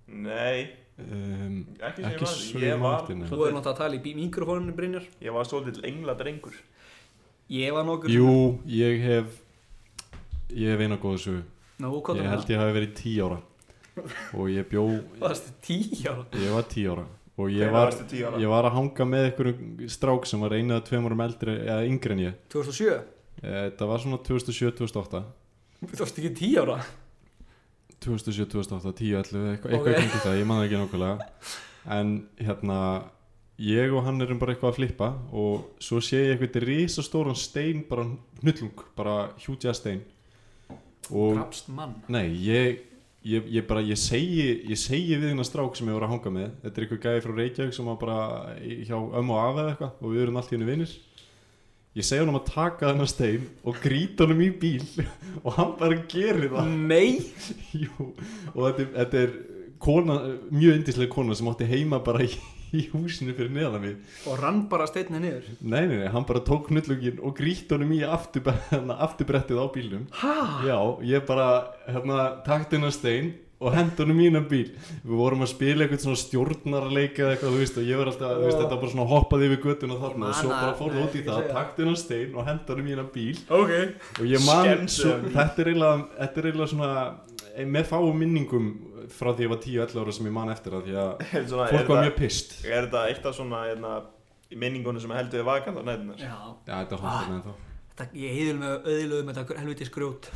[SPEAKER 3] nei,
[SPEAKER 4] um,
[SPEAKER 3] ekki sem
[SPEAKER 4] Ekki svo
[SPEAKER 3] ég var
[SPEAKER 4] ég man eftir,
[SPEAKER 3] ég
[SPEAKER 4] nei.
[SPEAKER 2] Þú er
[SPEAKER 3] var,
[SPEAKER 2] náttúrulega að tala í bí- mikrofóninu Brynjar
[SPEAKER 3] ég var svolítill engla drengur
[SPEAKER 2] Ég var nokkur
[SPEAKER 4] Jú, ég hef Ég hef eina góða sögu
[SPEAKER 2] Nú, hvað
[SPEAKER 4] Ég
[SPEAKER 2] er
[SPEAKER 4] held ég hafi verið tí ára Og ég bjó
[SPEAKER 2] Það er tíu ára
[SPEAKER 4] Ég var tí ára Og ég
[SPEAKER 3] Hvenær
[SPEAKER 4] var,
[SPEAKER 3] varstu 10 ára?
[SPEAKER 4] ég var að hanga með einhverjum strák sem var einu eða tveim árum eldri eða yngri en ég
[SPEAKER 2] 2007
[SPEAKER 4] Eh, Það var svona 2007-2008
[SPEAKER 2] Þú varst ekki tíu ára
[SPEAKER 4] 2007-2008, 10, 11, eitthvað
[SPEAKER 2] Ok.
[SPEAKER 4] okay. eitthvað það, ég man það ekki nákvæmlega en hérna ég og hann erum bara eitthvað að flippa og svo sé ég eitthvað risastóran stein bara hnullung, bara hjútja stein og
[SPEAKER 2] Drapst mann
[SPEAKER 4] nei, ég Ég, ég bara, ég segi, ég segi við hérna strák sem ég voru að hanga með, þetta er eitthvað gæði frá Reykjavík sem var bara í- hjá ömmu og afa eða eitthvað og við erum allt í henni vinnir ég segi hann um að taka þennan stein og grýta honum í bíl og hann bara gerir það
[SPEAKER 2] Nei
[SPEAKER 4] Jú, og þetta, er- þetta er kona, mjög indislega kona sem átti heima bara í, í húsinu fyrir neðan mig.
[SPEAKER 2] Og rann bara steinni niður
[SPEAKER 4] Nei, nei, nei, hann bara tók knullungin og grýtt honum í afturbe- hérna, afturbrettið á bílnum.
[SPEAKER 2] Hæ?
[SPEAKER 4] Já, ég bara, hérna, takt hennar stein og hendi honum í hennar bíl. Við vorum að spila eitthvað svona stjórnarleika eða eitthvað, þú veist, og ég var alltaf, þú veist, þetta bara svona hoppaði yfir göttuna þarna og svo
[SPEAKER 2] man
[SPEAKER 4] bara
[SPEAKER 2] það,
[SPEAKER 4] fór
[SPEAKER 2] nei,
[SPEAKER 4] það út í
[SPEAKER 2] ég
[SPEAKER 4] það,
[SPEAKER 2] segi það.
[SPEAKER 4] takt hennar stein og hendi honum í hennar bíl
[SPEAKER 2] Ok
[SPEAKER 4] og ég man
[SPEAKER 3] Skemmtu
[SPEAKER 4] svo,
[SPEAKER 3] hann.
[SPEAKER 4] þetta er eiginlega þetta er eiginlega svona eh, með fáum minningum frá því ég var 10-11 ára sem ég man eftir það því að
[SPEAKER 3] er
[SPEAKER 4] fólk var
[SPEAKER 3] þetta
[SPEAKER 4] mjög pist já,
[SPEAKER 3] er þetta eitt af svona hérna, minningunum sem heldur við vakant á nætunar
[SPEAKER 2] Já
[SPEAKER 4] þetta er hóttan en þá
[SPEAKER 2] þetta, Ég heiðil með öðilöðu með þetta helviti skrjót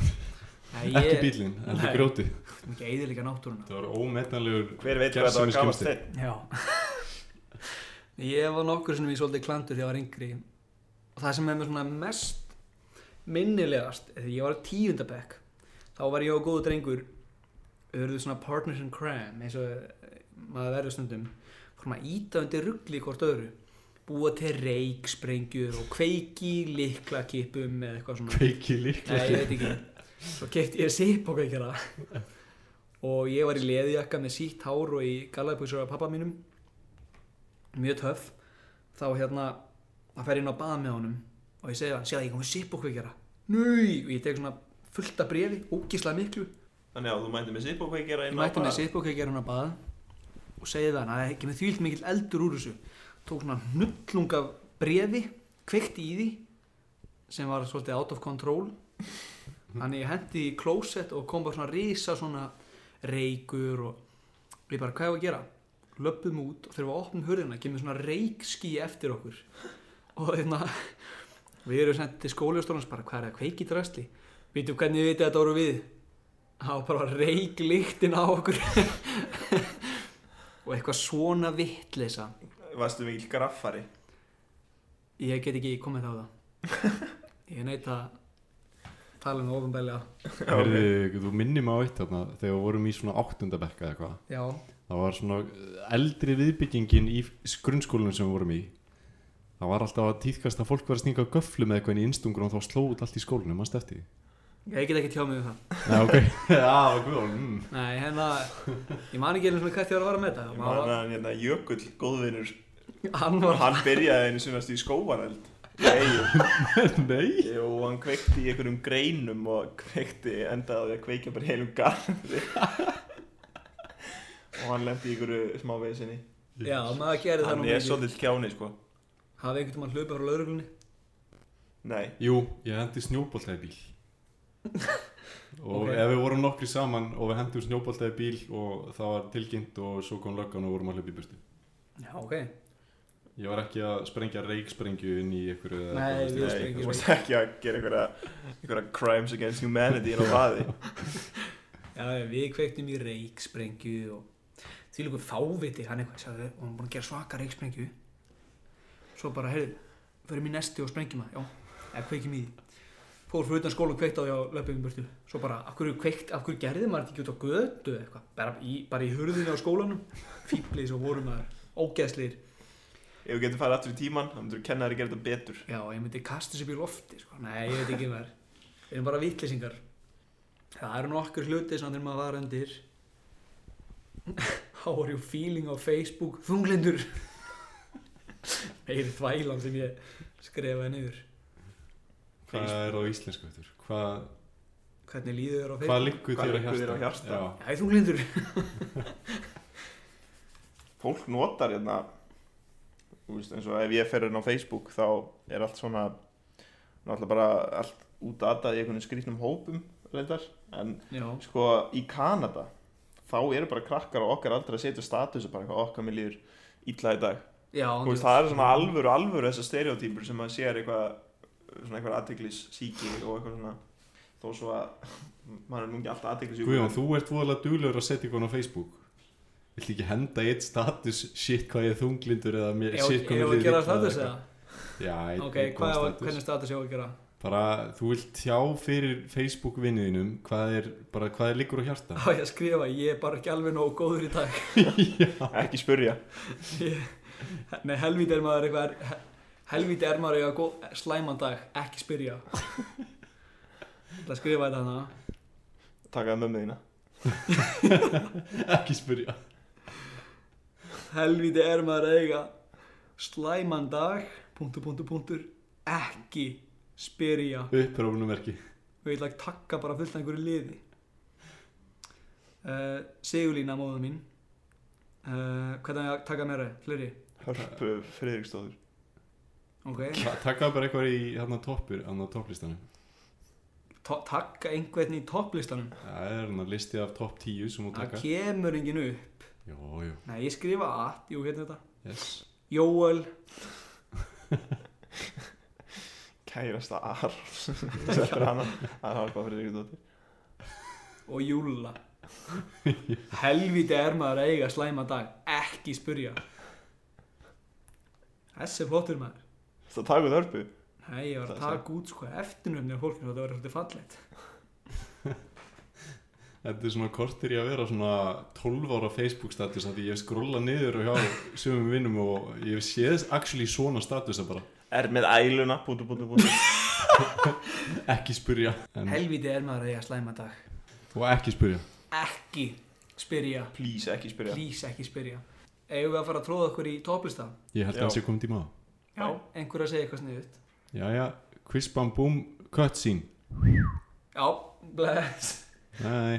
[SPEAKER 2] Nei, ég-
[SPEAKER 4] ekki bílinn, þetta
[SPEAKER 2] Nei.
[SPEAKER 4] er grjóti
[SPEAKER 2] Ekki heiðilega náttúruna
[SPEAKER 4] það var ómetanlegur
[SPEAKER 3] hver veit hvað þetta var gamast
[SPEAKER 4] skemmsti.
[SPEAKER 3] þeir
[SPEAKER 2] Já Ég var nokkur sem ég svolítið klandur þegar ég var yngri og það sem er mér svona mest minnilegast er því ég var á tíundabekk þá var ég og góðu drengur auðvitað svona partners in crime eins og eh, maður verður stundum fórum að íta undir ruggli hvort öðru búa til reiksprengjur og kveiki likla kipum eða eitthvað svona
[SPEAKER 4] kveiki líkla
[SPEAKER 2] Nei, ég veit ekki Svo kefti ég sip og kveikjara Og ég var í leðjakka með sítt hár og í gallabuxur af pappa mínum Mjög töff Þá hérna, það fer ég inn á bað með honum Og ég segi við hann, séð að ég komið sip og kveikjara Nui, og ég tek svona fullt af brefi, ógislega miklu
[SPEAKER 3] þannig að þú mætti með sipp og hvað gera
[SPEAKER 2] Ég mætti með sip og kveikjara hann á bað Og segi við hann, að það er ekki með þvílt mikill eldur úr þessu Tók svona hnullung af brefi, kveikti í því sem var svolítið out of control þannig ég hendi í klósett og kom bara svona risa svona reykur og við bara hvað er að gera löpum út og þegar við opnum hurðina kemur svona reykski eftir okkur og hérna við erum sent til skóliðstólans bara hvað er það kveikið drastli veitum hvernig við veitum þetta voru við það var bara reikliktin á okkur og eitthvað svona vittleisa
[SPEAKER 3] Varstu mikil graffari
[SPEAKER 2] ég get ekki komið á það ég neitt að tala um það ofanbælega
[SPEAKER 4] Heyrðu, þú minnir mig á eitt þarna þegar við vorum í svona áttundabekka eða eitthvað
[SPEAKER 2] já,
[SPEAKER 4] það var svona eldri viðbyggingin í grunnskólanum sem við vorum í það var alltaf að týðkast að fólk var að stinga göflu með eitthvað inn í innstungur og þá slóðu allt í skólanum, mannst eftir því?
[SPEAKER 2] ég get ekki tjá mig um það
[SPEAKER 4] Nei, ok, já, ok, mm.
[SPEAKER 2] nei, hérna ég man ekki einu svona hvert ég var að vara með
[SPEAKER 3] Ég man að
[SPEAKER 2] þetta
[SPEAKER 3] hann hérna Jökull, góðvinur
[SPEAKER 2] hann var
[SPEAKER 3] Hann byrjaði einu sinast í skóvareld Nei,
[SPEAKER 4] Nei
[SPEAKER 3] jú, hann kveikti í einhverjum greinum og kveikti endaði á því að kveikja bara í heilum garði og hann lendi í einhverju smá veisinni
[SPEAKER 2] já, maður gerði það
[SPEAKER 3] Hann
[SPEAKER 2] nú
[SPEAKER 3] er
[SPEAKER 2] mikið
[SPEAKER 3] svolítið kjáni, sko
[SPEAKER 2] hafði einhvern veginn hlupið frá lauruglunni
[SPEAKER 3] Nei,
[SPEAKER 4] Jú, ég hendi snjóbolta í bíl Og
[SPEAKER 2] Ok.
[SPEAKER 4] ef við vorum nokkri saman og við hendum snjóbolta í bíl og það var tilkynnt og svo kom löggan og vorum að hlupa í burtu
[SPEAKER 2] já, ok
[SPEAKER 4] Ég var ekki að sprengja reiksprengju inn í einhverju eða
[SPEAKER 2] Nei,
[SPEAKER 4] eitthvað,
[SPEAKER 2] við-
[SPEAKER 3] nei,
[SPEAKER 4] veist
[SPEAKER 2] sprengi-
[SPEAKER 3] þú veist ekki að gera einhverja, einhverja crimes against humanity inn á baði
[SPEAKER 2] Já, já, við kveiktum í reiksprengju og því líka fáviti hann eitthvað, sagði, og hann búin að gera svaka reiksprengju svo bara, heyrðu, förum í nesti og sprengjum það, já, eða kveikjum í því fór fyrir utan skóla og kveikt á því á löpum í burtu svo bara, af hverju, kveikt, af hverju gerði maður þetta ekki út á götu eða eitthvað, bara í, bara í hurðinu á skólanum fíblið svo voru maður, ógeðslir
[SPEAKER 3] Ef við getum farið aftur í tíman, þá myndur kennari gera þetta betur
[SPEAKER 2] já, ég myndi kasta þessu upp í lofti sko. nei, ég veit ekki maður við erum bara vitlýsingar það eru nokkur hluti sem þegar maður var undir how are you feeling á Facebook þunglindur meiri þvælan sem ég skrifaði niður
[SPEAKER 4] Hvað er á íslensku eftir? Hvað,
[SPEAKER 2] hvernig líður þér á
[SPEAKER 4] hvað
[SPEAKER 2] Facebook
[SPEAKER 4] liggur
[SPEAKER 3] Hvað
[SPEAKER 4] þér
[SPEAKER 3] liggur þér á
[SPEAKER 4] á
[SPEAKER 3] hjarta?
[SPEAKER 2] Já,
[SPEAKER 4] hjarta?
[SPEAKER 2] ég er þunglindur
[SPEAKER 3] fólk notar hérna þú veist, eins og ef ég fer inn á Facebook þá er allt svona náttúrulega bara allt útatað í einhvern skrýtnum hópum reyndar en
[SPEAKER 2] já,
[SPEAKER 3] sko í Kanada þá eru bara krakkar og okkar aldrei að setja status og bara eitthvað okkar mér líður illa í dag
[SPEAKER 2] já
[SPEAKER 3] Þú veist, það er svona alvöru alvöru þessar stereotypur sem maður sér eitthvað svona eitthvað aðteglis síki og eitthvað svona þó svo að maður er nú ekki alltaf aðteglis
[SPEAKER 4] Guðjón, þú ert voðalega duglegur að setja eitthvað á Facebook Viltu ekki henda eitt status shit hvað ég er þunglindur eða mér,
[SPEAKER 2] ég
[SPEAKER 4] shit
[SPEAKER 2] ég-
[SPEAKER 4] hvað
[SPEAKER 2] ég
[SPEAKER 4] mér
[SPEAKER 2] var að
[SPEAKER 4] líður
[SPEAKER 2] gera
[SPEAKER 4] illa eða
[SPEAKER 2] status eða
[SPEAKER 4] eitthvað. Já, eitt
[SPEAKER 2] ok,
[SPEAKER 4] góðan
[SPEAKER 2] hvað,
[SPEAKER 4] status.
[SPEAKER 2] hvernig status ég var að gera
[SPEAKER 4] Bara, þú vilt tjá fyrir Facebook vinniðinum hvað er, bara hvað er liggur á hjarta
[SPEAKER 2] á ég að skrifa, ég er bara ekki alveg nóg góður í dag
[SPEAKER 3] ekki spurja
[SPEAKER 2] Ég- Nei, helvíti er maður eitthvað er- Helvíti er maður eitthvað góð, slæman dag Ekki spyrja Það skrifa þetta hana
[SPEAKER 3] takaði mömmu þína
[SPEAKER 4] Ekki spyrja
[SPEAKER 2] Helvíti er maður eitthvað Slæman dag Punktur, punktur, punktur Ekki spyrja
[SPEAKER 4] Upprófunumerki
[SPEAKER 2] Og ég ætla að takka bara fullt af einhverju liði uh, Sigurlína móða mín uh, Hvernig á ég að taka meira? Fleiri?
[SPEAKER 3] hörpu Friðriksdóður
[SPEAKER 2] Ok
[SPEAKER 4] Takkaðu bara eitthvað í hérna toppur, hérna topplistanum
[SPEAKER 2] To Takka einhvern í topplistanum
[SPEAKER 4] Það er hérna listi af topp 10 sem þú
[SPEAKER 2] Það
[SPEAKER 4] taka
[SPEAKER 2] kemur engin upp
[SPEAKER 4] Jó, jó,
[SPEAKER 2] Nei, ég skrifa að Jú, hérna þetta
[SPEAKER 4] yes
[SPEAKER 2] Jóel
[SPEAKER 3] kærasta Arons settur hana að hafa hvað fyrir ykkur dóttir
[SPEAKER 2] og Júlla helviti er maður að eiga slæma dag ekki spurja þessi er flottur maður
[SPEAKER 3] það takur þörpu
[SPEAKER 2] nei ég var að
[SPEAKER 3] Það er
[SPEAKER 2] taka út sko eftirnöfni af fólkinu þetta var svolítið fallegt
[SPEAKER 4] Þetta er svona kortir í að vera svona 12 ára Facebook status af því ég skrolla niður og hjá sömum vinnum og ég sé þess actually svona statusa bara
[SPEAKER 3] er með æluna bútu bútu bútu
[SPEAKER 4] ekki spyrja en,
[SPEAKER 2] helviti er maður að eiga slæma dag
[SPEAKER 4] og ekki spyrja
[SPEAKER 2] ekki spyrja
[SPEAKER 3] please ekki spyrja
[SPEAKER 2] please ekki spyrja eigum við að fara að tróða okkur í toplista
[SPEAKER 4] ég held
[SPEAKER 3] Já.
[SPEAKER 4] að það sé komið tíma á
[SPEAKER 3] Já.
[SPEAKER 2] einhver að segja eitthvað sniðut
[SPEAKER 4] jæja, quiz bam boom cutscene
[SPEAKER 2] já, bless
[SPEAKER 4] nei,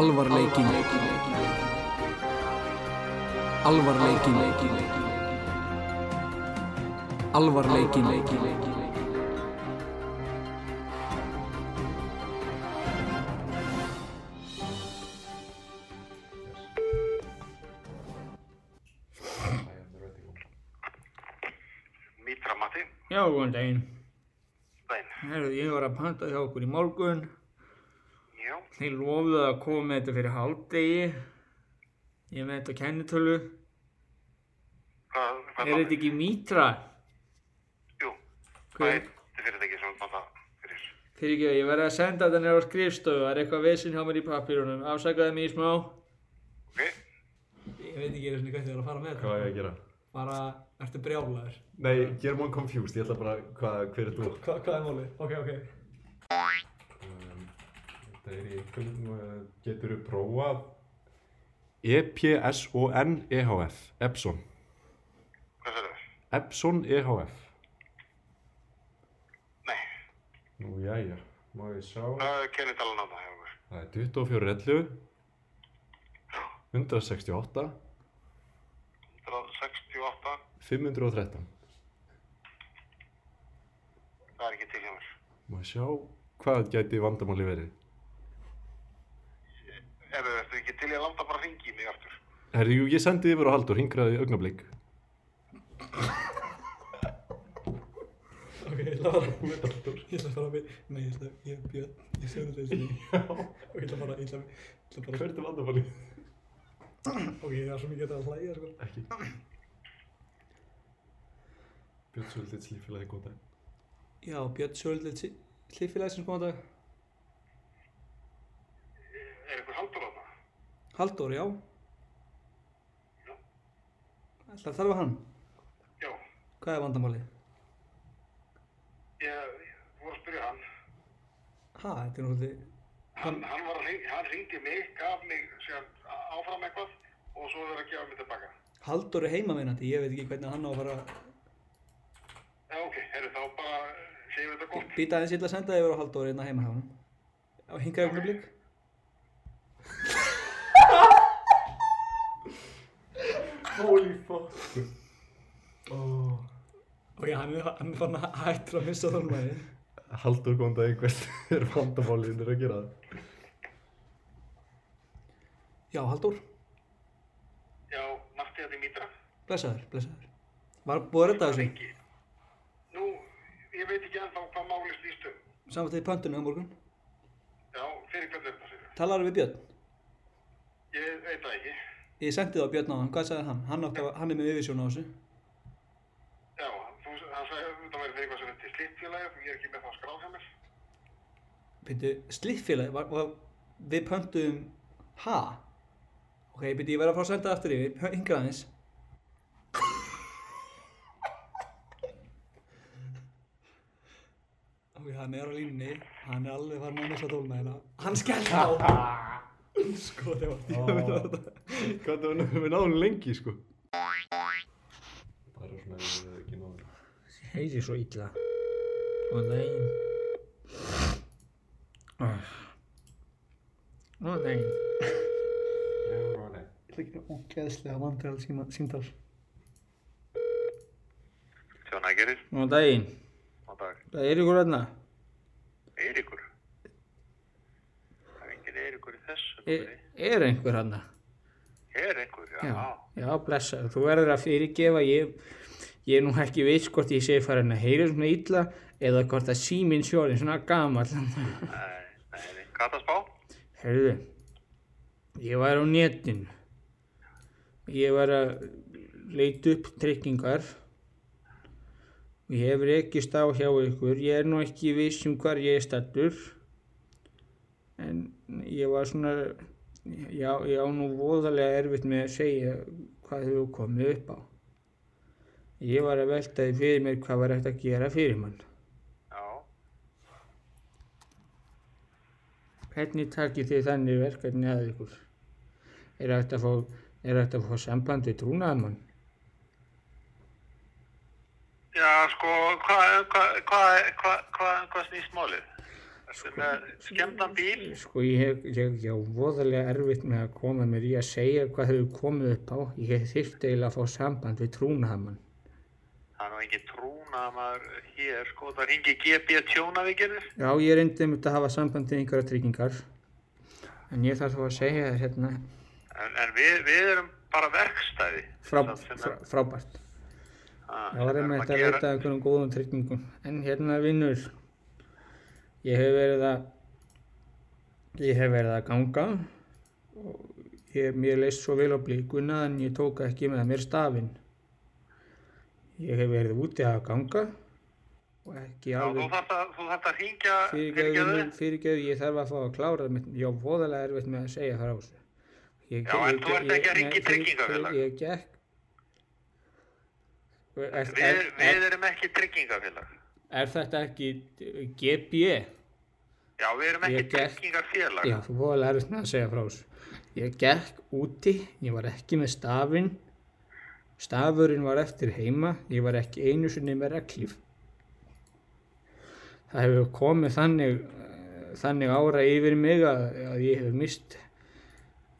[SPEAKER 2] alvarleikin alvarleikin alvarleikin Já, góðan daginn.
[SPEAKER 5] Daginn.
[SPEAKER 2] Herðu, ég var að panta hjá okkur í morgun.
[SPEAKER 5] Já,
[SPEAKER 2] Þið lofuðu að koma með þetta fyrir hálfdegi. Ég er með þetta á kennitölu.
[SPEAKER 5] hvað, hvað
[SPEAKER 2] Er þetta ekki mítra?
[SPEAKER 5] Jú, hvað
[SPEAKER 2] Hver?
[SPEAKER 5] er þetta fyrirtæki sem þú það fyrir?
[SPEAKER 2] Fyrir ekki, ég verði að senda þetta nefnir á skrifstofu. Það er eitthvað vesinn hjá mér í pappirunum. Afsakaði mig í smá.
[SPEAKER 5] Ok,
[SPEAKER 6] Ég veit ekki einu sinni hvað þið er að fara með þetta.
[SPEAKER 4] Hvað er ég að gera?
[SPEAKER 6] Bara, ertu brjálaður?
[SPEAKER 4] Nei, gerum hann confused, ég ætla bara, hvað, hver er þú?
[SPEAKER 6] Hva, hvað er mólið? Ok, ok.
[SPEAKER 4] Það er í kvöldum, getur þú prófað? E E-P-S-O-N-E-H-F, E Epson.
[SPEAKER 5] hvað sagði það?
[SPEAKER 4] Epson E EHF.
[SPEAKER 5] Nei,
[SPEAKER 4] Nú, jæja, má ég sjá.
[SPEAKER 5] það er kennitalan á það hjá okkur.
[SPEAKER 4] Það er 2411, 168,
[SPEAKER 5] 168,
[SPEAKER 4] 513.
[SPEAKER 5] það er ekki til hjá mér.
[SPEAKER 4] Má ég sjá hvað gæti vandamáli verið.
[SPEAKER 5] Ef þú ertu ekki til ég að landa bara hringi í mig aftur.
[SPEAKER 4] Herri, jú, ég sendi yfir á Haldur, hingraði augnablík.
[SPEAKER 6] Ok, ég ætla að fara með Halldór. Ég ætla að fara með, nei, ég ætla, ég er Björn, ég segur þetta eins og því. Og ég ætla bara, ég ætla, ég ætla bara,
[SPEAKER 4] er þetta vandamáli?
[SPEAKER 6] ok, ég er svo mikið að hlæja, sko.
[SPEAKER 4] Ekki. Björn Sjöldið slífilega góð dag.
[SPEAKER 6] Já, Björn Sjöldið, hliffilegisins góðan dag.
[SPEAKER 5] Er einhver haldur á það?
[SPEAKER 6] Halldór, já. Ætla að þarfa hann.
[SPEAKER 5] Já,
[SPEAKER 6] Hvað er vandamálið?
[SPEAKER 5] ég, ég voru að spyrja hann.
[SPEAKER 6] Ha, þetta er náttúrulega,
[SPEAKER 5] Hann, hann, var, að hring- hann ringdi mig, gaf mig síðan áfram eitthvað og svo verið að gefa mig tilbaka.
[SPEAKER 6] Halldór er heimaminnandi, ég veit ekki hvernig hann á að fara
[SPEAKER 5] Já, ok, herru, þá bara segjum við þetta gott.
[SPEAKER 6] Býta aðeins, ég ætla að senda þig yfir á Halldóri hérna heima hjá hann. Á hinga augnablík.
[SPEAKER 4] Holy fuck. Oh.
[SPEAKER 6] Ok, hann er, hann er fann að hættur að missa þólmaði.
[SPEAKER 4] Haldur góðan daginn, hvert er vandamálið þér að gera það?
[SPEAKER 6] Já, Halldór,
[SPEAKER 5] Já, hérna Marti að þið mýtra.
[SPEAKER 6] blessaður, blessaður. Var búið að redda þessu,
[SPEAKER 5] Ekki. Nú, ég veit ekki ennþá hvað máli snýst um.
[SPEAKER 6] saman til pöntunni á morgun.
[SPEAKER 5] Já, fyrir hvernig er þetta sér?
[SPEAKER 6] Talar við Björn.
[SPEAKER 5] Ég veit það ekki.
[SPEAKER 6] Ég sendi það á Björn á hann, hvað sagði hann? Hann, átti að, hann er með yfirsjón á þessu.
[SPEAKER 5] Já, þú, hann sagði að það væri fyrir eitthvað sem heitir slitfélagið og ég er ekki með það skráð hjá mér.
[SPEAKER 6] Býttu, slittfélagi, var, var, við pöntum, ha? Ok, býttu, ég verð að fá að senda það aftur yfir, hinga aðeins. Ok, hann er á línni, hann er alveg farin að missa þólmaðina. Hann skellt á! sko, það var djöfnir á þetta.
[SPEAKER 4] Hvað það var við náðum lengi, sko? Bara svona ef við ekki náðum.
[SPEAKER 2] Heyri svo illa. Góðan daginn. Ah. Góðan daginn.
[SPEAKER 6] Ég ætla að gera ógeðslega vandræðal símtál.
[SPEAKER 5] Sjón Ægerir,
[SPEAKER 2] Góðan daginn.
[SPEAKER 5] og dag.
[SPEAKER 2] Það er ykkur hérna.
[SPEAKER 5] Eiríkur. Það er engin Eiríkur í þessu.
[SPEAKER 2] Er, er einhver hérna?
[SPEAKER 5] Er einhver, já.
[SPEAKER 2] Já, blessaður. Þú verður að fyrirgefa. Ég, ég er nú ekki veist hvort ég sé farin að heyra svona illa eða hvort að síminn sjórið svona gamall.
[SPEAKER 5] Nei, nei, Kataspá?
[SPEAKER 2] Herðu, ég var á netinu. Ég var að leita upp tryggingar. og Ég hef rekist á hjá ykkur. Ég er nú ekki viss um hvar ég er stattur. En ég var svona, já, ég á nú voðalega erfitt með að segja hvað þau komið upp á. Ég var að velta því fyrir mér hvað var eftir að gera fyrir mann.
[SPEAKER 5] Já.
[SPEAKER 2] Hvernig takir þið þannig verkefni að ykkur? Er hægt að fá, er hægt að fá samband við trúnaðamann?
[SPEAKER 5] Já, sko, hvað hva, hva, hva, hva, hva snýst málið? Ertu með skemmtan bíl?
[SPEAKER 2] Sko ég hef, ég, ég á voðalega erfitt með að koma mér í að segja hvað hefur komið upp á. Ég hef þyrft eiginlega að fá samband við trúnaðamann.
[SPEAKER 5] Það er nú engin trúnaðamar hér, sko. Það er engin GB tjónavíkirðir.
[SPEAKER 2] Já, ég er endið mynd að hafa samband við einhverja tryggingar. En ég þarf þá að segja þér hérna
[SPEAKER 5] En, en við, við erum bara verkstæði.
[SPEAKER 2] frá,
[SPEAKER 5] Sem- sem er-
[SPEAKER 2] frá, frábært. Það var einmitt að leita að einhverjum góðum tryggingum. En hérna vinnur, ég hef verið að, ég hef verið að ganga og ég, mér leist svo vel á blíkuna en ég tók ekki með mér stafinn. Ég hef verið úti að ganga og ekki
[SPEAKER 5] Já, þú
[SPEAKER 2] alveg
[SPEAKER 5] þarft að, þú þarft að hringja,
[SPEAKER 2] fyrirgeðu,
[SPEAKER 5] fyrirgeðu,
[SPEAKER 2] fyrirgeðu, ég þarf að fá að klára mitt, já, voðalega erfitt með að segja frá þessu. Ég,
[SPEAKER 5] Já, en þú ert ekki að hringja
[SPEAKER 2] nei,
[SPEAKER 5] í
[SPEAKER 2] fyr-
[SPEAKER 5] tryggingafélag.
[SPEAKER 2] Ég gekk. Er,
[SPEAKER 5] við, við erum ekki tryggingafélag.
[SPEAKER 2] Er þetta ekki E? GB?
[SPEAKER 5] Já, við erum ekki
[SPEAKER 2] Ég gekk-
[SPEAKER 5] tryggingafélag.
[SPEAKER 2] Já, þú fóðið lærist með að segja frá þessu. Ég gekk úti, ég var ekki með stafinn, stafurinn var eftir heima, ég var ekki einu sinni með reglíf. Það hefur komið þannig, eh, þannig ára yfir mig að, að ég hef mist,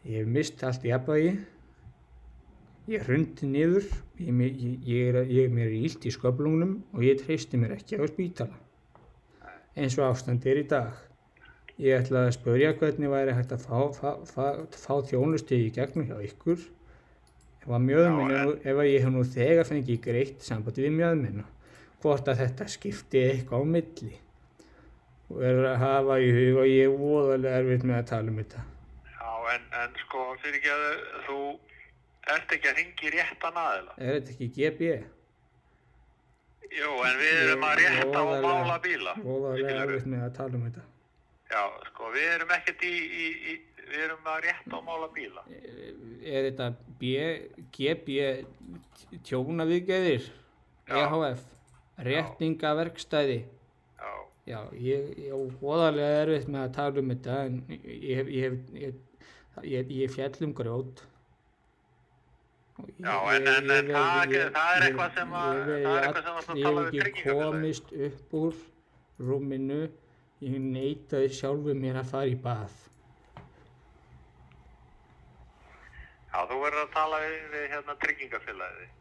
[SPEAKER 2] ég hef mist allt jafnvægi, ég hrundi niður, ég, ég, ég, ég, er- ég mér er ílt í sköflungnum og ég treysti mér ekki á spítala eins og ástand er í dag. Ég ætlaði að spurja hvernig væri hægt að fá, fá, fá, fá þjónustu í gegnum hjá ykkur ef að mjöðminn,
[SPEAKER 5] Já,
[SPEAKER 2] er nú- ef að ég hef nú þegar fengið greitt sambandi við mjöðminna, hvort að þetta skipti eitthvað á milli og er að hafa í huga og ég er voðalega erfitt með að tala um þetta.
[SPEAKER 5] Já, en, en sko, fyrirgeðu, þú ert ekki að hringja í réttan aðila.
[SPEAKER 2] Er þetta ekki GB?
[SPEAKER 5] Jú, en við erum að rétta og
[SPEAKER 2] Voðalega-
[SPEAKER 5] mála bíla.
[SPEAKER 2] Voðalega
[SPEAKER 5] skilurðu.
[SPEAKER 2] erfitt með að tala um þetta.
[SPEAKER 5] Já, sko, við erum ekkert í, í, í, við erum að rétta og mála bíla.
[SPEAKER 2] Eh, Er þetta B, GB tjónaviðgeðir,
[SPEAKER 5] Já.
[SPEAKER 2] EHF, réttingaverkstæði?
[SPEAKER 5] Já,
[SPEAKER 2] Já, ég, ég á voðalega erfitt með að tala um þetta en ég hef, ég hef, ég, ég, ég fjall um grjót. Og ég-
[SPEAKER 5] Já,
[SPEAKER 2] ég-
[SPEAKER 5] en- en-
[SPEAKER 2] ég-
[SPEAKER 5] en
[SPEAKER 2] ég-
[SPEAKER 5] það-
[SPEAKER 2] ég-
[SPEAKER 5] það er
[SPEAKER 2] ég-
[SPEAKER 5] eitthvað sem að-
[SPEAKER 2] ég- ég-
[SPEAKER 5] það er eitthvað sem að tala
[SPEAKER 2] Ég
[SPEAKER 5] við
[SPEAKER 2] hef ekki
[SPEAKER 5] tryggingafélagið.
[SPEAKER 2] komist upp úr rúminu, ég neitaði sjálfu mér að fara í bað.
[SPEAKER 5] já, þú verður að tala við, við hérna tryggingafélagið. þitt.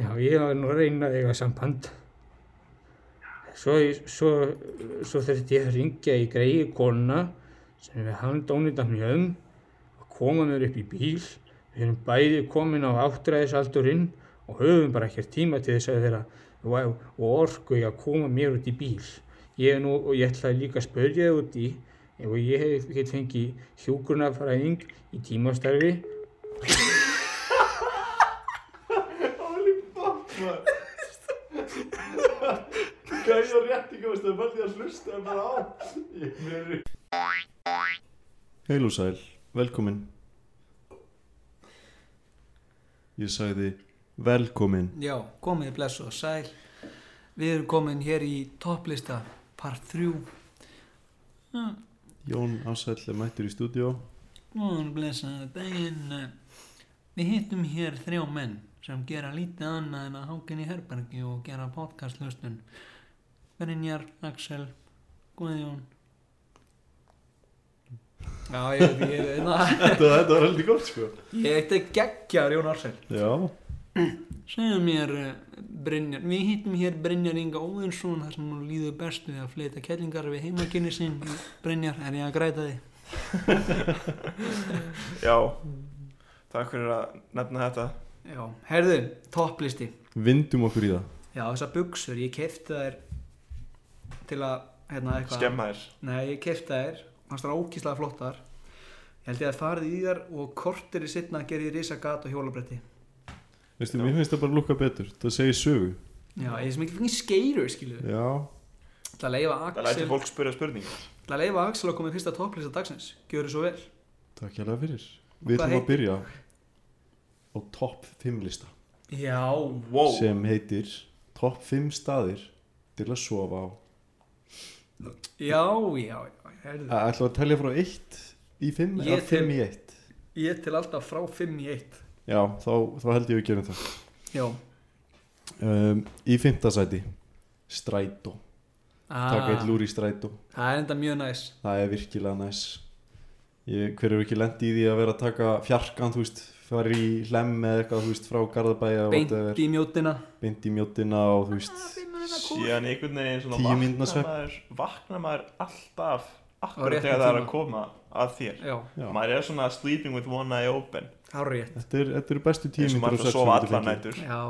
[SPEAKER 2] Já, ég var nú að reyna að eiga samband. Svo, svo, svo þurfti ég að ringja í greiði kona sem við handónita mjögum að koma mér upp í bíl. Við erum bæði komin á áttræðisaldurinn og höfum bara ekkert tíma til þess að vera og, og orku í að koma mér út í bíl. Ég er nú, og ég ætlaði líka að spörja þið út í ef ég hef get fengið hjúgrunafræðing í tímastarfi
[SPEAKER 7] Gæði rétt í góðast, það var því að hlusta en bara á. Ég meður
[SPEAKER 4] Heil og sæl, velkomin Ég sagði velkomin
[SPEAKER 8] Já, komið blessu og sæl. Við erum komin hér í topplista part 3.
[SPEAKER 4] Jón Ásæll er mættur í stúdíó
[SPEAKER 8] Góðan blessaði daginn. Við hittum hér þrjá menn sem gera lítið annað en að hákinn í herbergi og gera podcastlustun. Brynjar, Axel, Guðjón. Já, ég veit, ég veit,
[SPEAKER 4] Þetta, þetta var heldur gott sko
[SPEAKER 8] ég veit ekki geggjar Jón Arsel.
[SPEAKER 4] Já,
[SPEAKER 8] Segðu mér, eh, Brynjar, við hittum hér Brynjar Inga Óðinsson þar sem hún líður best við að fleita kellingar við heimakinni sinn. Brynjar, er ég að græta þig?
[SPEAKER 3] Já, takk fyrir að nefna þetta
[SPEAKER 8] Já, herðu, topplisti.
[SPEAKER 4] vindum okkur í það
[SPEAKER 8] Já, þessar buksur, ég kefti þær til að, hérna, eitthvað.
[SPEAKER 3] Skemma þér
[SPEAKER 8] Nei, ég kefti þær, fannst þær ókíslega flottar. Ég held ég að farið í þær og kortir í sittna gerði ég risa gat og hjólabretti.
[SPEAKER 4] Veistu, mér finnst það bara lukka betur Það segir sögu
[SPEAKER 8] Já, ég er sem ekki fengið skeirur, skilu.
[SPEAKER 4] Já,
[SPEAKER 8] Það að leifa
[SPEAKER 3] Það læti
[SPEAKER 8] Axel,
[SPEAKER 3] fólk spyrja spurningar
[SPEAKER 8] til að leifa Axel að koma í fyrsta topplista dagsins. Gjöru svo vel.
[SPEAKER 4] takk hérlega fyrir Við
[SPEAKER 8] Hvað
[SPEAKER 4] ætlum
[SPEAKER 8] heitir-
[SPEAKER 4] að byrja á topp 5 lista
[SPEAKER 8] Já,
[SPEAKER 3] Wow,
[SPEAKER 4] sem heitir topp 5 staðir til að sofa á
[SPEAKER 8] já, já, já, herðu.
[SPEAKER 4] Æ, Ætlum við að telja frá 1 í 5
[SPEAKER 8] Ég
[SPEAKER 4] eða 5 í
[SPEAKER 8] tel-
[SPEAKER 4] 1
[SPEAKER 8] Ég tel alltaf frá 5 í 1
[SPEAKER 4] Já, þá, þá held ég við gerum það
[SPEAKER 8] Já
[SPEAKER 4] um, Í 5. sæti Strætó, taka eitt lúr í strætó
[SPEAKER 8] Ah, Það er enda mjög næs
[SPEAKER 4] Það er virkilega næs ég, Hver er ekki lent í því að vera að taka fjarkan þú veist, fara í hlem eða eitthvað þú veist, frá Garðabæja
[SPEAKER 8] Beint í mjótina
[SPEAKER 4] beint í mjótina og þú veist
[SPEAKER 3] síðan einhvern veginn svona
[SPEAKER 4] Tíu mínútna
[SPEAKER 3] vakna
[SPEAKER 4] svefn.
[SPEAKER 3] maður, vakna maður alltaf
[SPEAKER 8] Á
[SPEAKER 3] akkurat
[SPEAKER 8] réttum
[SPEAKER 3] þegar það er að
[SPEAKER 8] tíma.
[SPEAKER 3] koma að þér
[SPEAKER 8] Já,
[SPEAKER 4] Já.
[SPEAKER 3] maður er svona sleeping with one eye open
[SPEAKER 8] hárið
[SPEAKER 4] Þetta er- þetta eru bestu tíu
[SPEAKER 3] eins og
[SPEAKER 4] mínútur
[SPEAKER 3] maður ætlar að
[SPEAKER 4] og sex
[SPEAKER 3] sofa
[SPEAKER 4] mínútur
[SPEAKER 3] allar
[SPEAKER 4] fengið.
[SPEAKER 3] nætur
[SPEAKER 8] Já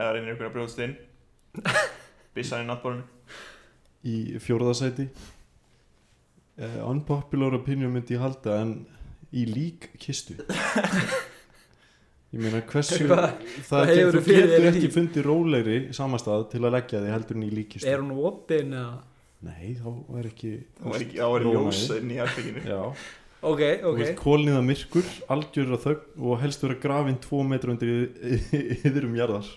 [SPEAKER 3] eða reynir ykkur að brjóðast inn Bissan í náttbórunni
[SPEAKER 4] í fjórðasæti uh, unpopular opinion myndi ég halda en í lík kistu ég meina hversu
[SPEAKER 8] Hvað- hvað
[SPEAKER 4] það
[SPEAKER 8] hefurðu
[SPEAKER 4] getur,
[SPEAKER 8] fyrir
[SPEAKER 4] getur
[SPEAKER 8] þér í?
[SPEAKER 4] ekki fundið rólegri samastað til að leggja því heldur en í lík kistu
[SPEAKER 8] Er hún opin eða?
[SPEAKER 4] nei þá er ekki
[SPEAKER 3] þá er ekki- þá er
[SPEAKER 4] Ljómaði.
[SPEAKER 3] ljós inn í herbygginu
[SPEAKER 4] já
[SPEAKER 8] Ok,
[SPEAKER 4] Þú veist,
[SPEAKER 8] ok.
[SPEAKER 4] kólniða myrkur, algjörða þögn og helst vera grafinn 2 metra undir yð- yðrum jarðar.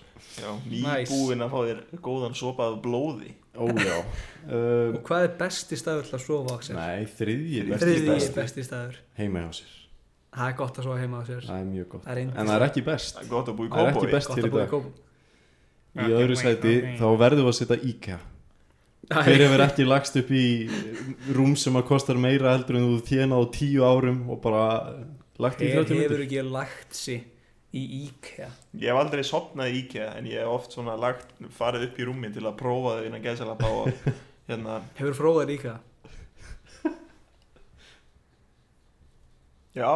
[SPEAKER 8] Nice.
[SPEAKER 3] nýbúin að fá þér góðan sopa af blóði
[SPEAKER 4] Ó já.
[SPEAKER 8] Og
[SPEAKER 4] Um,
[SPEAKER 8] hvað er besti staður til að sofa, Axel?
[SPEAKER 4] nei, þriðji besti
[SPEAKER 8] Þriðji
[SPEAKER 4] staður.
[SPEAKER 8] besti staður.
[SPEAKER 4] Heima hjá sér.
[SPEAKER 8] Það er gott að sofa heima á sér.
[SPEAKER 4] Það er mjög gott.
[SPEAKER 8] Það er
[SPEAKER 4] En það er ekki best.
[SPEAKER 3] það er gott að búi í
[SPEAKER 4] Það er ekki
[SPEAKER 3] kópói
[SPEAKER 4] best
[SPEAKER 8] gott
[SPEAKER 4] hér
[SPEAKER 8] að
[SPEAKER 4] í
[SPEAKER 8] búa í
[SPEAKER 4] dag.
[SPEAKER 8] kópum.
[SPEAKER 4] Í öðru sæti þá verðum við að setja IKEA. Hver
[SPEAKER 8] Æ,
[SPEAKER 4] hefur ekki lagst upp í rúm sem að kostar meira heldur en þú þjena á tíu árum og bara lagt í
[SPEAKER 8] Hver
[SPEAKER 4] 30
[SPEAKER 8] hefur
[SPEAKER 4] minnir?
[SPEAKER 8] ekki lagt sig í IKEA?
[SPEAKER 3] ég hef aldrei sopnað í IKEA en ég hef oft svona lagt, farið upp í rúmi til að prófa þau innan gæðsalapa og hérna,
[SPEAKER 8] Hefur fróðar í IKEA?
[SPEAKER 3] já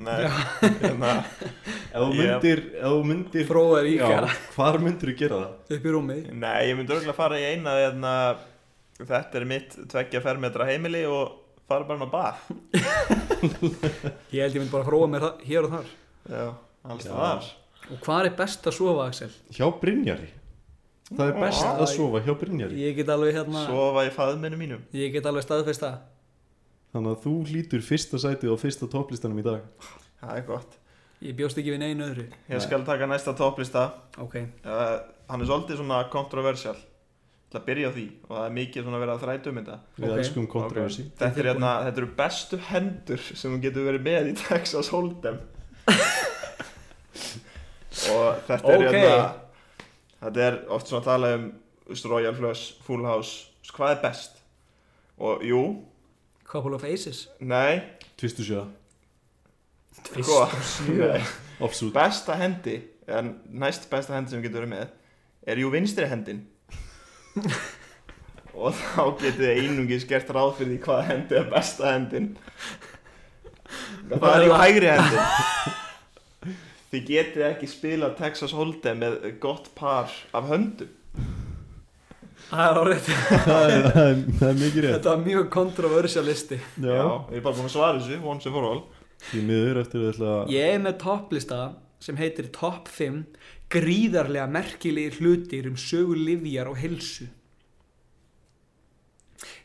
[SPEAKER 3] nei, hérna
[SPEAKER 4] Ef þú myndir, ef þú myndir,
[SPEAKER 8] Fróðar í
[SPEAKER 4] já,
[SPEAKER 8] IKEA
[SPEAKER 4] hvar myndir þú gera það?
[SPEAKER 8] upp í rúmið.
[SPEAKER 3] Nei, ég myndi örgulega fara í eina hérna, Þetta er mitt tveggja fermetra heimili og fara bara inn á bað
[SPEAKER 8] Ég held ég myndi bara fróða mér það- hér og þar.
[SPEAKER 3] Já, alls
[SPEAKER 4] Já.
[SPEAKER 3] það þar
[SPEAKER 8] Og hvað er best að sofa, Axel?
[SPEAKER 4] Hjá Brynjari. Það er best
[SPEAKER 8] Já.
[SPEAKER 4] að sofa hjá Brynjari.
[SPEAKER 8] Ég get alveg hérna,
[SPEAKER 3] Sofa í faðminu mínum
[SPEAKER 8] ég get alveg staðfesta.
[SPEAKER 4] Þannig að þú hlýtur fyrsta sætið á fyrsta topplistanum í dag
[SPEAKER 3] Það er gott
[SPEAKER 8] Ég bjóst ekki við neinu öðru.
[SPEAKER 3] Ég skal taka næsta topplista
[SPEAKER 8] Ok,
[SPEAKER 3] uh, Hann er svolítið svona kontroversial Til að byrja á því Og það er mikið svona verið að þræta um þetta
[SPEAKER 4] Við
[SPEAKER 8] Ok.
[SPEAKER 4] elskum kontroversi
[SPEAKER 3] Þetta, er, hérna, þetta eru bestu hendur sem þú getur verið með í Texas Hold'em og þetta er
[SPEAKER 8] Ok.
[SPEAKER 3] hérna þetta er oft svona að tala um þú veist, Royal Flush, Full House þú veist, hvað er best og jú,
[SPEAKER 8] couple of aces.
[SPEAKER 3] nei,
[SPEAKER 4] Tvistu sjöða,
[SPEAKER 3] sko nei,
[SPEAKER 4] offsút
[SPEAKER 3] besta hendi en næst besta hendi sem þú getur verið með er jú vinstri hendin og þá getur þið einungis gert ráð fyrir því hvaða hendi er besta hendin það er jú hægri hendin þið getið ekki spila Texas Hold'em með gott par af höndum
[SPEAKER 8] Það er orðið,
[SPEAKER 4] það, er- það er- það er mikið rétt
[SPEAKER 8] þetta var mjög kontroversial listi.
[SPEAKER 4] Já,
[SPEAKER 3] ég er bara búin að svara þessu, once and for all
[SPEAKER 4] því miður eftir að ætla að
[SPEAKER 8] Ég er með topplista sem heitir Top 5 gríðarlega merkilegir hlutir um sögu livjar og helsu.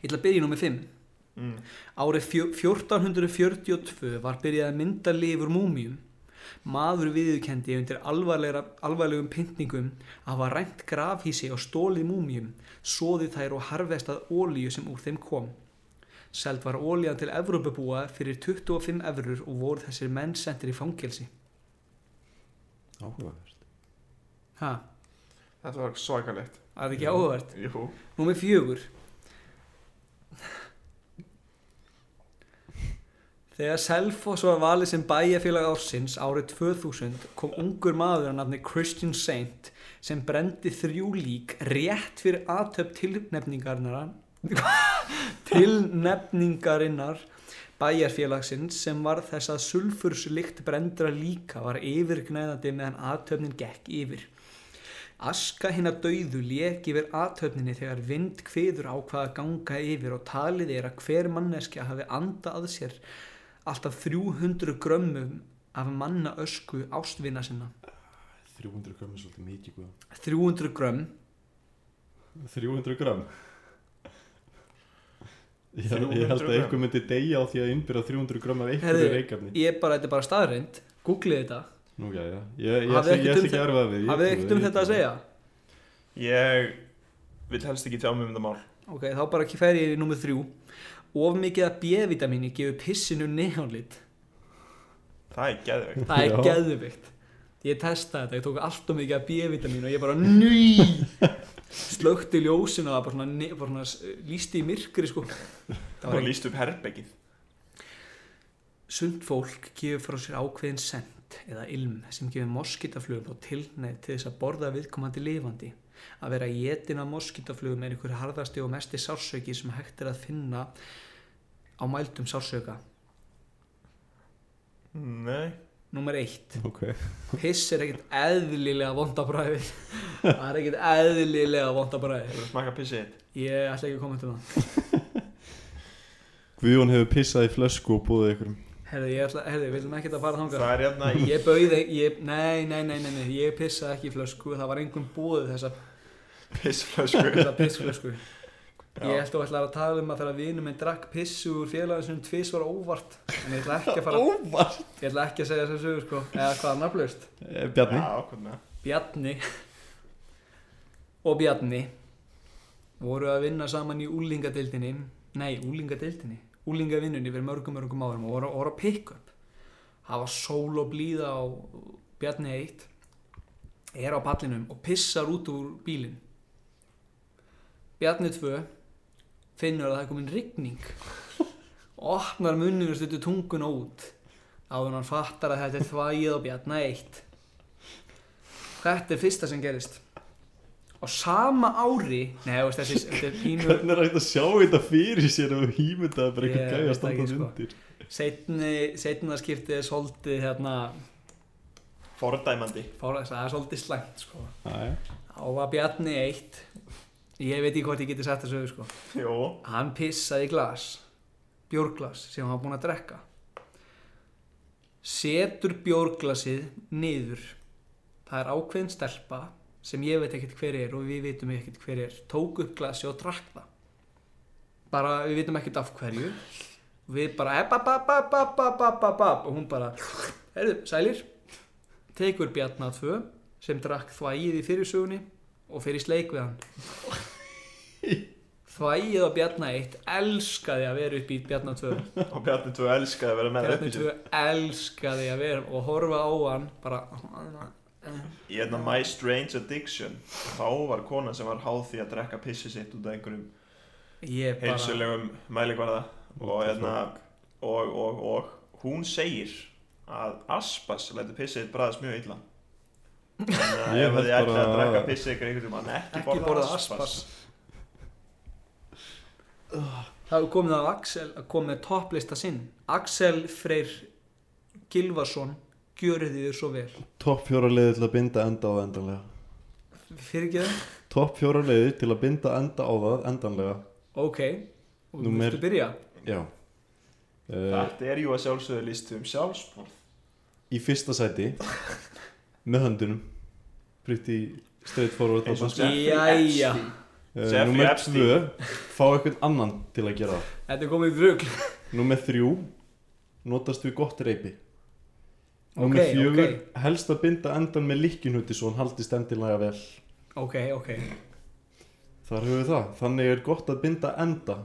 [SPEAKER 8] Ég ætla að byrja í nummer 5.
[SPEAKER 3] Mm.
[SPEAKER 8] Árið fjó- 1442 var byrjað að mynda lifur múmium. Maður viðurkendi undir alvarlegra- alvarlegum pyntningum að hafa rænt grafhísi og stólið múmium, soðið þær og harfestað ólíu sem úr þeim kom. Seld var ólíðan til Evrópubúa fyrir 25 evrur og voru þessir menn sendir í fangelsi.
[SPEAKER 4] Áhugavert.
[SPEAKER 8] Ha,
[SPEAKER 3] þetta var svakalegt
[SPEAKER 8] það er ekki áhugavert.
[SPEAKER 3] jú,
[SPEAKER 8] Númer fjögur. Þegar Selfoss var valið sem bæjarfélag ársins árið 2000 kom ungur maður að nafni Christian Saint sem brendi þrjú lík rétt fyrir aðtöp tilnefningarinnar tilnefningarinnar bæjarfélagsins sem var þess að sulfurslikt brendra líka var yfirgnæðandi meðan aðtöfnin gekk yfir. Aska hinna dauðu lék yfir aðtöfninni þegar vind kviður á hvað að ganga yfir og talið er að hver manneskja hafi anda að sér alltaf 300 grömmum af manna ösku ástvinna sinna.
[SPEAKER 4] 300 gram er svolítið mikið guð
[SPEAKER 8] 300 grömm,
[SPEAKER 4] 300 gram? Ég, ég
[SPEAKER 3] 300
[SPEAKER 4] held að
[SPEAKER 3] grömm.
[SPEAKER 4] einhver myndi deyja á því að innbyrja 300 gram af einhverju
[SPEAKER 8] Herðu,
[SPEAKER 4] reikafni
[SPEAKER 8] ég bara, þetta er bara staðreind, googlið þetta,
[SPEAKER 4] Nú já, já, ég, ég,
[SPEAKER 8] Hafið
[SPEAKER 4] ætla- ég
[SPEAKER 8] ekkert um
[SPEAKER 4] ætla ekki
[SPEAKER 8] þe-
[SPEAKER 4] að erfa við ég
[SPEAKER 8] hafið
[SPEAKER 4] trúi-
[SPEAKER 8] ekkert um
[SPEAKER 4] ég
[SPEAKER 8] þetta að
[SPEAKER 4] trúi.
[SPEAKER 8] segja?
[SPEAKER 3] ég vil helst ekki tjá mig um þetta mál
[SPEAKER 8] Ok, þá bara ekki fer ég í nummið þrjú. Of mikið að B-vitamíni gefur pissinu neónlit.
[SPEAKER 3] það er geðvegt
[SPEAKER 8] Það er
[SPEAKER 4] Já.
[SPEAKER 8] geðvikt Ég testaði þetta, ég tók allt og mikið af B-vitamin og ég bara NÝ Slökti ljósinu og það bara svona, ne- bara svona s- lýsti í myrkri sko Það var
[SPEAKER 3] og
[SPEAKER 8] ekki
[SPEAKER 3] líst upp herrbyggið
[SPEAKER 8] Sund fólk gefur frá sér ákveðin send eða ilm sem gefur moskitaflugum og tilneið til þess að borða viðkomandi lifandi Að vera jetin af moskitaflugum er einhver harðasti og mesti sársauki sem hægt er að finna á mældum sársauka
[SPEAKER 3] nei,
[SPEAKER 8] Númer eitt
[SPEAKER 4] ok
[SPEAKER 8] Piss er ekkert eðlilega vondabræði Það er ekkert eðlilega vondabræði
[SPEAKER 3] Smaka pissið þitt
[SPEAKER 8] Ég ætla ekki að koma til það
[SPEAKER 4] Guðjón hefur pissað í flösku og búið ykkur
[SPEAKER 8] Herði, ég ætla, herði, við viljum ekki að fara þangað
[SPEAKER 3] Það er hérna í
[SPEAKER 8] Ég bauði, ég, nei, nei, nei, nei, nei, ég pissaði ekki í flösku, það var engum búið þessa,
[SPEAKER 3] pissflösku
[SPEAKER 8] þessa pissflösku. Ég held að ætla að tala um að þegar vinur minn drakk pissu úr félagin tvís var óvart, en ég ætla ekki að fara,
[SPEAKER 4] Óvart
[SPEAKER 8] ég ætla ekki að segja þess að sögur, sko, eða hvað er nafnlaust?
[SPEAKER 4] Eh, Bjarni
[SPEAKER 3] Já, hvernig
[SPEAKER 8] Bjarni og Bjarni voru að vinna saman í úlingadeildinni, nei, úlingadeildinni, úlingavinnunni fyrir mörgum, mörgum árum og voru, voru að pick-up. Það var sól og blíða á Bjarni eitt, er á pallinum og pissar út úr bílinn. Bjarni tvö finnur að það er komin rigning og opnar munnum og stuttur tungun út áður en hann fattar að þetta er þvægið á Bjarni eitt. Þetta er fyrsta sem gerist Á sama ári Nei, þú veist, þessi, þetta er pínu
[SPEAKER 4] Hvernig er hægt að sjá þetta fyrir sér og hýmyndaði bara
[SPEAKER 8] Ég
[SPEAKER 4] eitthvað gæja
[SPEAKER 8] veit
[SPEAKER 4] að standa
[SPEAKER 8] ekki, sko.
[SPEAKER 4] undir
[SPEAKER 8] Setni, setna skiptið er svolítið hérna
[SPEAKER 3] Fordæmandi
[SPEAKER 8] fára, Það er svolítið slæmt, sko
[SPEAKER 4] Jæja.
[SPEAKER 8] Á var Bjarni eitt Ég veit ekki hvort ég geti sagt þessu, sko
[SPEAKER 3] Jó
[SPEAKER 8] Hann pissaði í glas Bjórglas sem hann var búinn að drekka Setur bjórglasið niður Það er ákveðin stelpa sem ég veit ekkert hver er og við vitum ekkert hver er Tók upp glasið og drakk það Bara við vitum ekkert af hverju Við bara ep, ep, ep, ep, ep, ep, ep, ep, ep, Og hún bara Herðu, sælir Tekur Bjarnar 2 sem drakk þvægið í fyrirsögunni og fyrir sleik við hann Þvægið á Bjarnar 1 elskaði að vera upp í Bjarnar 2
[SPEAKER 3] Og Bjarni 2 elskaði að vera með
[SPEAKER 8] Bjarnar
[SPEAKER 3] uppi
[SPEAKER 8] 2
[SPEAKER 3] sér
[SPEAKER 8] elskaði að vera og horfa á hann bara
[SPEAKER 3] Í hérna My Strange Addiction Þá var kona sem var háð því að drekka pissið sitt út af einhverjum
[SPEAKER 8] ég bara
[SPEAKER 3] heilsulegum mælikvarða Og
[SPEAKER 4] What the
[SPEAKER 3] hérna og, og, og hún segir að Aspas lætur pissið þitt bræðast mjög illa Þannig að
[SPEAKER 4] Ég
[SPEAKER 3] ef
[SPEAKER 4] held
[SPEAKER 3] þið ætlaði að
[SPEAKER 4] bara-
[SPEAKER 3] drekka pissið ykkur einhvern tímann ekki,
[SPEAKER 8] ekki borða aspas Það er komið af Axel að komið með topplista sinn Axel Freyr Gilvason gjörið því þau svo vel
[SPEAKER 4] Topp fjóra leiði til að binda enda á það endanlega
[SPEAKER 8] fyrir ekki það?
[SPEAKER 4] Topp fjóra leiði til að binda enda á það endanlega
[SPEAKER 8] Ok, og þú
[SPEAKER 4] Númer-
[SPEAKER 8] viltu byrja?
[SPEAKER 4] Já uh,
[SPEAKER 3] Þetta er jú að sjálfsögðu listu um sjálfsmorð
[SPEAKER 4] Í fyrsta sæti Með höndunum Pretty straightforward
[SPEAKER 3] Eins og
[SPEAKER 4] þarna.
[SPEAKER 3] Jeffrey
[SPEAKER 8] Jæja.
[SPEAKER 3] Epstein.
[SPEAKER 4] Eh,
[SPEAKER 3] Jeffrey
[SPEAKER 4] Númer
[SPEAKER 3] Epstein.
[SPEAKER 4] tvö Fá eitthvað annan til að gera það
[SPEAKER 8] Þetta er komið í drugl
[SPEAKER 4] Númer þrjú Notast við gott reypi Númer
[SPEAKER 8] Ok,
[SPEAKER 4] fjögur
[SPEAKER 8] ok.
[SPEAKER 4] Helst að binda endan með líkkinhutti Svo hann haldist endilega vel
[SPEAKER 8] Ok, ok,
[SPEAKER 4] Þar höfum við það Þannig er gott að binda enda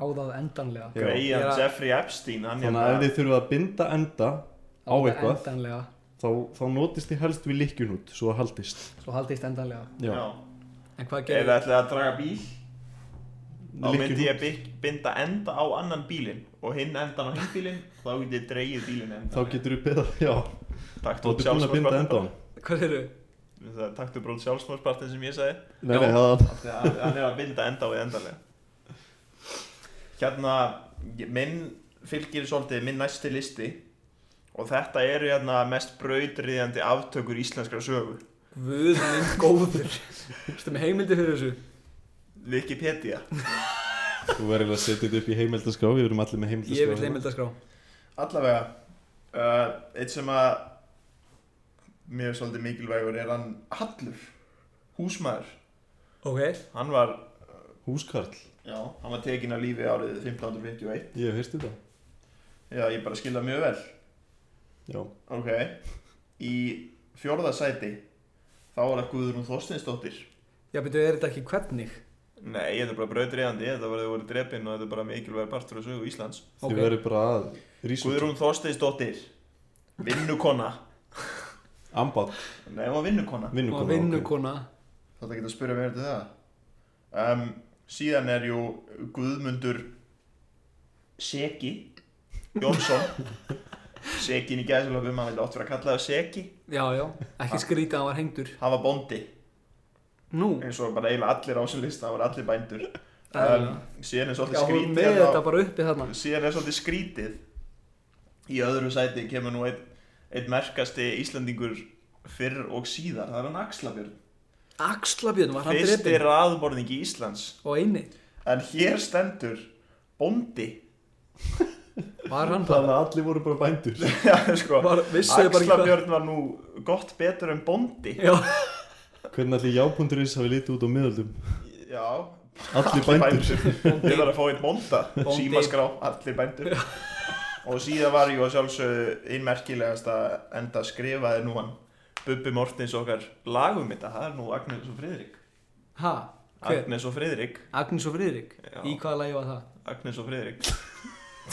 [SPEAKER 8] á það endanlega
[SPEAKER 4] Já.
[SPEAKER 3] Greyjan
[SPEAKER 8] Ég er að-
[SPEAKER 3] Jeffrey Epstein hann
[SPEAKER 4] Þannig að ef
[SPEAKER 3] hérna-
[SPEAKER 4] þið þurfum að binda enda Á
[SPEAKER 8] það
[SPEAKER 4] eitthvað.
[SPEAKER 8] Endanlega,
[SPEAKER 4] Þá, þá notist þið helst við líkkinhutt Svo það haldist
[SPEAKER 8] svo haldist endanlega
[SPEAKER 4] Já,
[SPEAKER 3] Já.
[SPEAKER 8] En hvað
[SPEAKER 3] Ef
[SPEAKER 8] gerir
[SPEAKER 3] þið ætlaði að draga bíl þá myndi
[SPEAKER 4] Lykkjuhnút.
[SPEAKER 3] ég bygg- binda enda á annan bílinn og hinn endan á hinn bílinn þá getið þið dreigið bílinn enda
[SPEAKER 4] Þá getur við beðað, já
[SPEAKER 3] Takk
[SPEAKER 4] Þú ert búin að binda enda á hann
[SPEAKER 8] Hvað eru?
[SPEAKER 3] Takk þú bróð sjálfsmórspartin sem ég sagði
[SPEAKER 4] Nei,
[SPEAKER 8] Já.
[SPEAKER 4] nei, það
[SPEAKER 3] Þegar hann er að binda enda á við endanlega Hérna ég- minn fylgir svolítið minn næsti listi og þetta eru hérna mest brautriðjandi aftökur íslenskra sögu
[SPEAKER 8] Guð minn góður Ertu með heimildi fyrir þessu?
[SPEAKER 3] Wikipedia
[SPEAKER 4] Þú verður eiginlega að setja þetta upp í heimildaskrá Við erum allir með heimildaskrá hérna.
[SPEAKER 8] Ég vil heimildaskrá
[SPEAKER 3] Allavega uh, Eitt sem að Mér er svolítið mikilvægur er hann Hallur, húsmaður
[SPEAKER 8] Ok,
[SPEAKER 3] Hann var,
[SPEAKER 4] Húskarl,
[SPEAKER 3] já, hann var tekin að lífi árið 1551
[SPEAKER 4] ég hef heyrst þetta
[SPEAKER 3] Já, ég bara skilða mjög vel
[SPEAKER 4] Já,
[SPEAKER 3] Ok Í fjórða sæti Þá var það Guðrún Þorsteinsdóttir
[SPEAKER 8] já betur er þetta ekki hvernig?
[SPEAKER 3] Nei, þetta er bara brautriðandi Þetta var þau voru drepin og þetta er bara mikilvægur partur af sögu Íslands
[SPEAKER 4] þið
[SPEAKER 8] Ok.
[SPEAKER 4] verður bara að Rísum
[SPEAKER 3] Guðrún Þorsteinsdóttir Vinnukona
[SPEAKER 4] Ambátt,
[SPEAKER 3] Nei, hún var vinnukona
[SPEAKER 8] Og
[SPEAKER 4] vinnukona
[SPEAKER 8] vinnukona
[SPEAKER 3] Þetta getur að spyrja mér til það um, Síðan er jú Guðmundur Seki Jónsson Sekin í gæðsalöfum, hann vil oft vera kallaði Seki
[SPEAKER 8] Já, já, ekki skrítið að hann var hengdur
[SPEAKER 3] Hann var bóndi,
[SPEAKER 8] Nú,
[SPEAKER 3] eins og bara eiginlega allir á þessum lista, það voru allir bændur um,
[SPEAKER 8] Eðlilega.
[SPEAKER 3] Síðan er
[SPEAKER 8] já,
[SPEAKER 3] svolítið
[SPEAKER 8] hún
[SPEAKER 3] skrítið
[SPEAKER 8] með
[SPEAKER 3] hérna á-
[SPEAKER 8] þetta bara uppi þarna
[SPEAKER 3] síðan er svolítið skrítið í öðru sæti kemur nú einn einn merkasti Íslandingur fyrr og síðar, það er hann Axlabjörn
[SPEAKER 8] Axlabjörn var hann
[SPEAKER 3] fyrsti
[SPEAKER 8] drefin
[SPEAKER 3] raðborningi Íslands
[SPEAKER 8] og eini
[SPEAKER 3] en hér stendur bóndi
[SPEAKER 8] var hann
[SPEAKER 4] Það að
[SPEAKER 8] bara
[SPEAKER 4] allir voru bara bændur
[SPEAKER 3] Já, sko,
[SPEAKER 8] Var- vissu þau bara ekki hvað-
[SPEAKER 3] Axlabjörn var nú gott betur en bóndi
[SPEAKER 8] Já,
[SPEAKER 4] Hvernig allir jábúnduris hafi litið út á miðöldum
[SPEAKER 3] Já,
[SPEAKER 4] Allir bændur
[SPEAKER 3] Ég var að fá einn bónda,
[SPEAKER 8] Bóndi.
[SPEAKER 3] símaskrá, allir bændur Og síðan var ég að sjálfsögðu einn merkilegast að enda skrifaði nú hann Bubbi Mortins okkar lagum þetta, það er nú Agnes og Friðrik
[SPEAKER 8] ha, hver?
[SPEAKER 3] Agnes og Friðrik
[SPEAKER 8] Agnes og Friðrik
[SPEAKER 3] Já.
[SPEAKER 8] Í hvaða lagi var það?
[SPEAKER 3] Agnes og Friðrik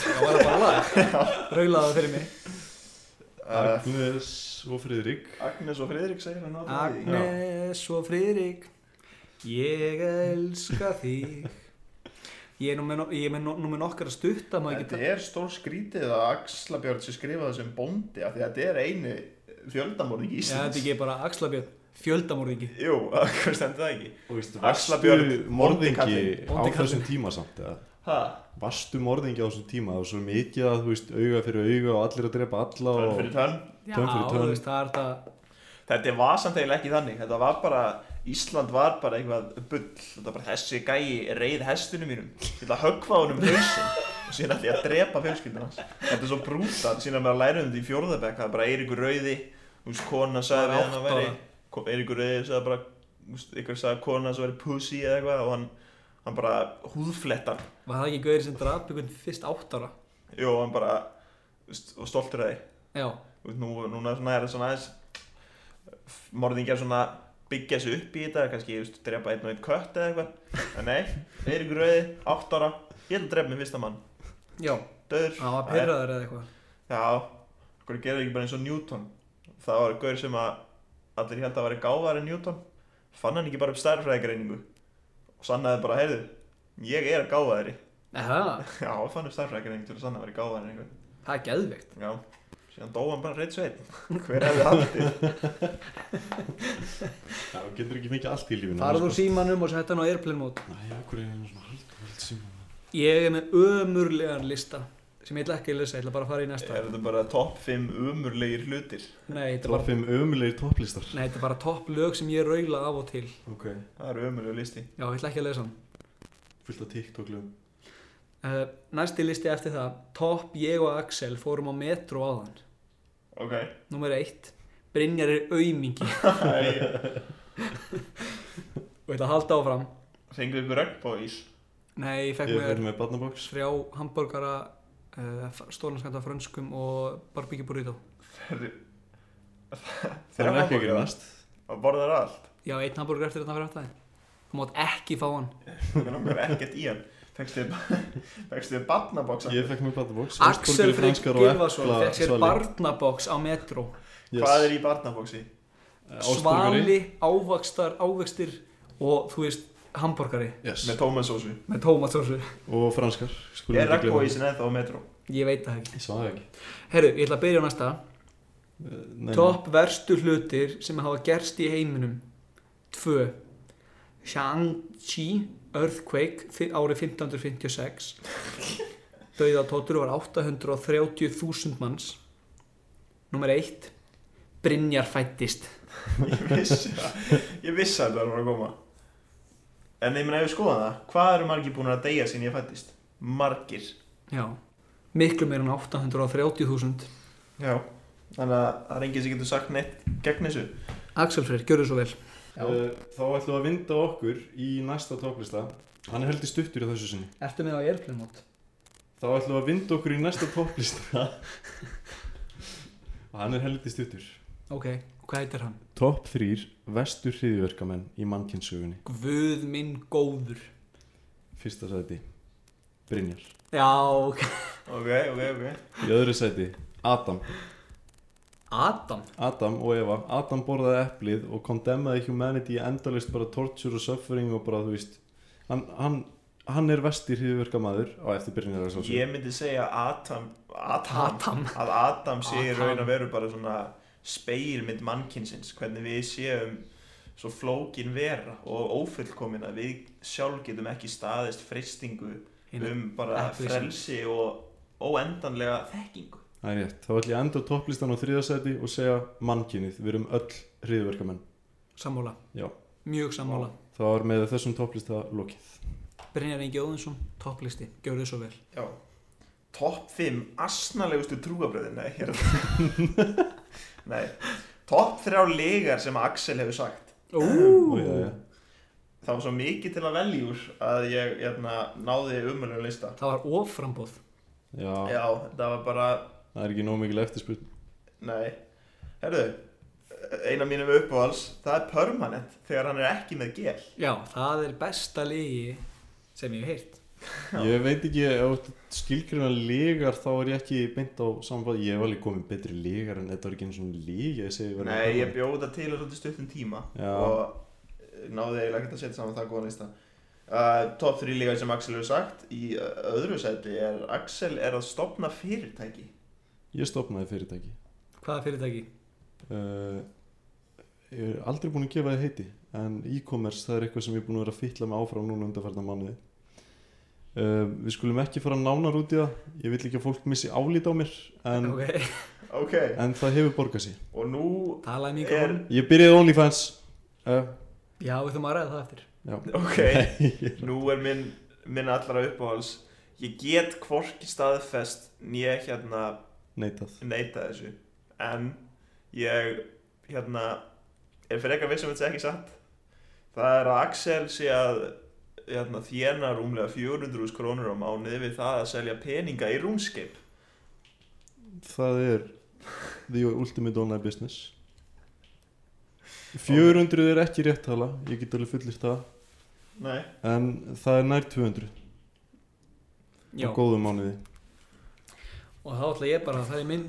[SPEAKER 8] Það var það bara lag Raulaði það fyrir mig
[SPEAKER 3] uh,
[SPEAKER 4] Agnes og Friðrik
[SPEAKER 3] Agnes og Friðrik segir hann á því
[SPEAKER 8] Agnes og Friðrik Ég elska þig Ég er nú með, no- ég er með, no- nú með nokkara stutt að maður
[SPEAKER 3] Þetta
[SPEAKER 8] geta
[SPEAKER 3] er stór skrítið að Axla Björn sé skrifaði sem bóndi af því að þetta er einu fjöldamorðing í
[SPEAKER 8] Já, þetta er
[SPEAKER 3] Íslands
[SPEAKER 8] ekki bara Axlabjörn Fjöldamorðingi
[SPEAKER 3] Jú, hvað stendur það ekki?
[SPEAKER 4] Og veistu,
[SPEAKER 3] Axla
[SPEAKER 4] varstu
[SPEAKER 3] Björn, Bóndi
[SPEAKER 4] morðingi
[SPEAKER 3] kallinn.
[SPEAKER 4] á
[SPEAKER 8] Bóndi
[SPEAKER 4] þessum tíma samt eða?
[SPEAKER 3] Ha?
[SPEAKER 4] Varstu morðingi á þessum tíma Það var svo mikið að, þú veist, auga fyrir auga og allir að drepa alla
[SPEAKER 3] Tönn
[SPEAKER 4] og
[SPEAKER 3] fyrir tönn
[SPEAKER 8] Já,
[SPEAKER 4] Tönn fyrir
[SPEAKER 8] þú
[SPEAKER 4] tönn.
[SPEAKER 8] veist, það er það
[SPEAKER 3] Þetta var samt eiginlega ekki þannig Þetta var bara, Ísland var bara eitthvað bull Þetta var bara þessi gæi reið hestunum mínum Ég ætla að höggva honum hausinn og síðan ætla ég að drepa fjölskyldan hans Þetta er svo brúta, síðan maður læra um þetta í fjórðabæk Það er bara Eiríkur Rauði Þú veist, kona sagði við
[SPEAKER 8] Bara
[SPEAKER 3] hann að
[SPEAKER 8] átta
[SPEAKER 3] veri
[SPEAKER 8] ára.
[SPEAKER 3] kom- Eiríkur Rauði sagði bara þú veist, Ykkur sagði kona hans að veri pussy eða eitthvað Og hann, hann bara húðflettan
[SPEAKER 8] Var það ekki gauðir sem draf byggjum fyrst átt ára?
[SPEAKER 3] Jó, hann bara, þú veist, og stoltur að því
[SPEAKER 8] Já,
[SPEAKER 3] Þú veist, nú, núna svona er það svona aðeins morðingjar svona byggja sig upp í þetta, kannski þú veist, drepa einn og einn kött eða eitthvað en nei, Eirík Rauði, 8 ára ég ætla að drepa minn fyrsta mann,
[SPEAKER 8] já,
[SPEAKER 3] döður
[SPEAKER 8] það var pyrraður eða eitthvað
[SPEAKER 3] já, okkur gerði ekki bara eins og Newton það var gaur sem að allir held að væri gáðar en Newton fann hann ekki bara upp stærðfræðigreiningu og sannaði bara, heyrðu, ég er gáðari
[SPEAKER 8] Eða,
[SPEAKER 3] já, hann fann upp stærðfræðigreiningu til að sanna að væri gáðar en einhvern
[SPEAKER 8] það er geðveikt
[SPEAKER 3] já, síðan dó hann bara reitt sveit hver hefði haldið
[SPEAKER 4] Já, þú getur ekki mikið allt í lífinu sko.
[SPEAKER 8] Farðu úr símanum og setja hann á airplane mót
[SPEAKER 4] Næ, okkur er hérna svona hald, hald síma
[SPEAKER 8] Ég er með ömurlegan lista sem ég ætla ekki að lesa, ég ætla bara að fara í næsta
[SPEAKER 3] Er þetta bara topp 5 umurlegir hlutir?
[SPEAKER 8] Nei, þetta er bara,
[SPEAKER 4] Droppum ömulegir topplistar
[SPEAKER 8] nei, þetta er bara topp lög sem ég raula af og til
[SPEAKER 4] Ok
[SPEAKER 3] Það eru umurlegur listi.
[SPEAKER 8] Já, ég ætla ekki að lesa hann
[SPEAKER 4] Fullt af TikTok-lögum
[SPEAKER 8] uh, Næsti listi eftir það Topp, ég og Axel fórum á metro áðan
[SPEAKER 3] Ok.
[SPEAKER 8] Númer eitt Brynjar er aumingi Og þetta halda áfram
[SPEAKER 3] Fengur ykkur regnbóís?
[SPEAKER 8] Nei, ég fekk
[SPEAKER 4] Ég
[SPEAKER 8] mér
[SPEAKER 4] fyrir með barnabox
[SPEAKER 8] þrjá hambúrgara uh, stólanskanta frönskum og barbecue burrito
[SPEAKER 4] Það er ekki að grínast
[SPEAKER 3] Og borðar allt.
[SPEAKER 8] Já, einn hambúrgar eftir þetta fyrir áttæði Þú mátt ekki fá hann
[SPEAKER 3] Það er okkur ekkert í hann. Fengst þið, fengst þið barnaboksa?
[SPEAKER 4] Ég fekk með barnabox
[SPEAKER 8] Axel Freyr Gilvason fekk sér barnabox á metro
[SPEAKER 3] Hvað er í barnaboksi?
[SPEAKER 8] Eh,
[SPEAKER 4] Eh,
[SPEAKER 8] Svali, ávaxtar, ávegstir og þú veist, hambúrgari
[SPEAKER 4] Yes
[SPEAKER 3] Með tómasósu.
[SPEAKER 8] með tómatsósu
[SPEAKER 4] Og franskar skulum
[SPEAKER 3] Er
[SPEAKER 4] ekki gleyma.
[SPEAKER 3] regnbóísin ennþá á metro?
[SPEAKER 8] Ég veit það ekki
[SPEAKER 4] Ég svaði ekki
[SPEAKER 8] Herru, ég ætla að byrja á næsta
[SPEAKER 4] Eh, nei,
[SPEAKER 8] Topp verstu hlutir sem hafa gerst í heiminum 2 Shang-Chi Earthquake fi- árið 1556 Dauðatóttur var 830.000 manns Númer 1 Brynjar fættist
[SPEAKER 3] Ég vissi það. Ég vissi að þetta var að koma. En ég meina ef við skoðum það, hvað eru margir búin að deyja sín ég fættist? Margir.
[SPEAKER 8] Já Miklu meir en 830.000
[SPEAKER 3] Já. Þannig að það er enginn sem getur sagt neitt gegn þessu.
[SPEAKER 8] Axel Freyr, gjörðu svo vel
[SPEAKER 4] nei. Eh, Þá ætlum við að vinda okkur í næsta topplista Hann er heldur stuttur í þessu sinni
[SPEAKER 8] Ertu með á airplane-mót?
[SPEAKER 4] Þá ætlum við að vinda okkur í næsta topplista Og hann er heldur stuttur
[SPEAKER 8] Ok, hvað heitir hann?
[SPEAKER 4] Topp 3 vestur hriðverkamenn í mannkynnsögunni
[SPEAKER 8] Guð minn góður
[SPEAKER 4] Fyrsta sæti Brynjar
[SPEAKER 8] Já, ok
[SPEAKER 3] Ok, ok, ok.
[SPEAKER 4] Í öðru sæti Adam
[SPEAKER 8] Adam
[SPEAKER 4] Adam og Eva Adam borðaði eplið og condemnaði humanity endalist bara torture og suffering og bara þú veist hann, hann, hann er vestir hriðverkamaður á eftir Brynjar að sjálfsögðu.
[SPEAKER 3] Ég myndi segja Adam, Adam,
[SPEAKER 8] Adam.
[SPEAKER 3] að Adam sé í
[SPEAKER 8] Adam.
[SPEAKER 3] raun að veru bara svona speilmynd mannkynsins, hvernig við séum svo flókin vera og ófullkomin að við sjálf getum ekki staðist freystingu
[SPEAKER 8] Hina-
[SPEAKER 3] um bara
[SPEAKER 8] Appelsínu.
[SPEAKER 3] frelsi og óendanlega þekkingu.
[SPEAKER 4] Það er rétt. Þá ætlum ég að enda topplistan á þriðasæti og segja mannkynið. Við erum öll hriðverkamenn.
[SPEAKER 8] Sammála,
[SPEAKER 4] Já.
[SPEAKER 8] mjög sammála
[SPEAKER 4] Þá er með þessum topplista lokið.
[SPEAKER 8] Brynjar Ingi Óðinsson, topplisti, gjörðu svo vel
[SPEAKER 3] Já. Topp 5 asnalegustu trúabröðin Nei, hér Nei Topp 3 legar sem Axel hefur sagt
[SPEAKER 4] Ó, já, já.
[SPEAKER 3] Það var svo mikið til að velja úr að ég jæna, náði umölu lista
[SPEAKER 8] Það var offrambóð
[SPEAKER 4] Já,
[SPEAKER 3] Já, það var bara
[SPEAKER 4] það er ekki nóg mikil eftirspurn.
[SPEAKER 3] Nei, herðu Einu af mínum uppáhals Það er permanent þegar hann er ekki með gel
[SPEAKER 8] Já, það er besta ligi sem ég hef heyrt
[SPEAKER 4] Ég veit ekki, ef skilgrina legar þá er ég ekki beint á samfæð. Ég hef alveg komið betri legar en þetta var ekki eins og leg. Ég segi verið
[SPEAKER 3] Nei, ég bjóð þetta til á svolítið stuttum tíma
[SPEAKER 4] Já.
[SPEAKER 3] og eh, náði eiginlega ekkert að setja saman það góðan lista uh, Top 3 líka sem Axel hefur sagt í uh, öðru sæti er Axel er að stopna fyrirtæki
[SPEAKER 4] Ég stopnaði fyrirtæki.
[SPEAKER 8] Hvaða fyrirtæki?
[SPEAKER 4] Uh, ég er aldrei búin að gefa þið heiti, en e-commerce það er eitthvað sem ég er búin að vera að fytla með áfram núna undanferðna mánuði. Uh, við skulum ekki fara nánar út í það. Ég vil ekki að fólk missi álít á mér, en,
[SPEAKER 8] Ok,
[SPEAKER 3] Ok,
[SPEAKER 4] en það hefur borgað sér.
[SPEAKER 3] og nú
[SPEAKER 8] talaði mikið
[SPEAKER 3] er
[SPEAKER 8] er...
[SPEAKER 4] Ég byrjaði OnlyFans. Uh,
[SPEAKER 8] Já, við þurfum að ræða það eftir
[SPEAKER 4] já.
[SPEAKER 3] Ok,
[SPEAKER 4] Nei,
[SPEAKER 3] nú er minn, minn allara uppáhals Ég get hvorki staðfest nýja hérna
[SPEAKER 4] neitað.
[SPEAKER 3] neita þessu en ég hérna er fyrir eitthvað vissum þetta er ekki satt það er að Axel sé að hérna, þjena rúmlega 400.000 krónur á mánuði við það að selja peninga í rúmskeip
[SPEAKER 4] Það er the ultimate online business 400 er ekki rétt tala ég get alveg fullir það
[SPEAKER 3] Nei.
[SPEAKER 4] en það er nær 200 á
[SPEAKER 8] Já,
[SPEAKER 4] góðum mánuði
[SPEAKER 8] og þá ætla ég bara að það er minn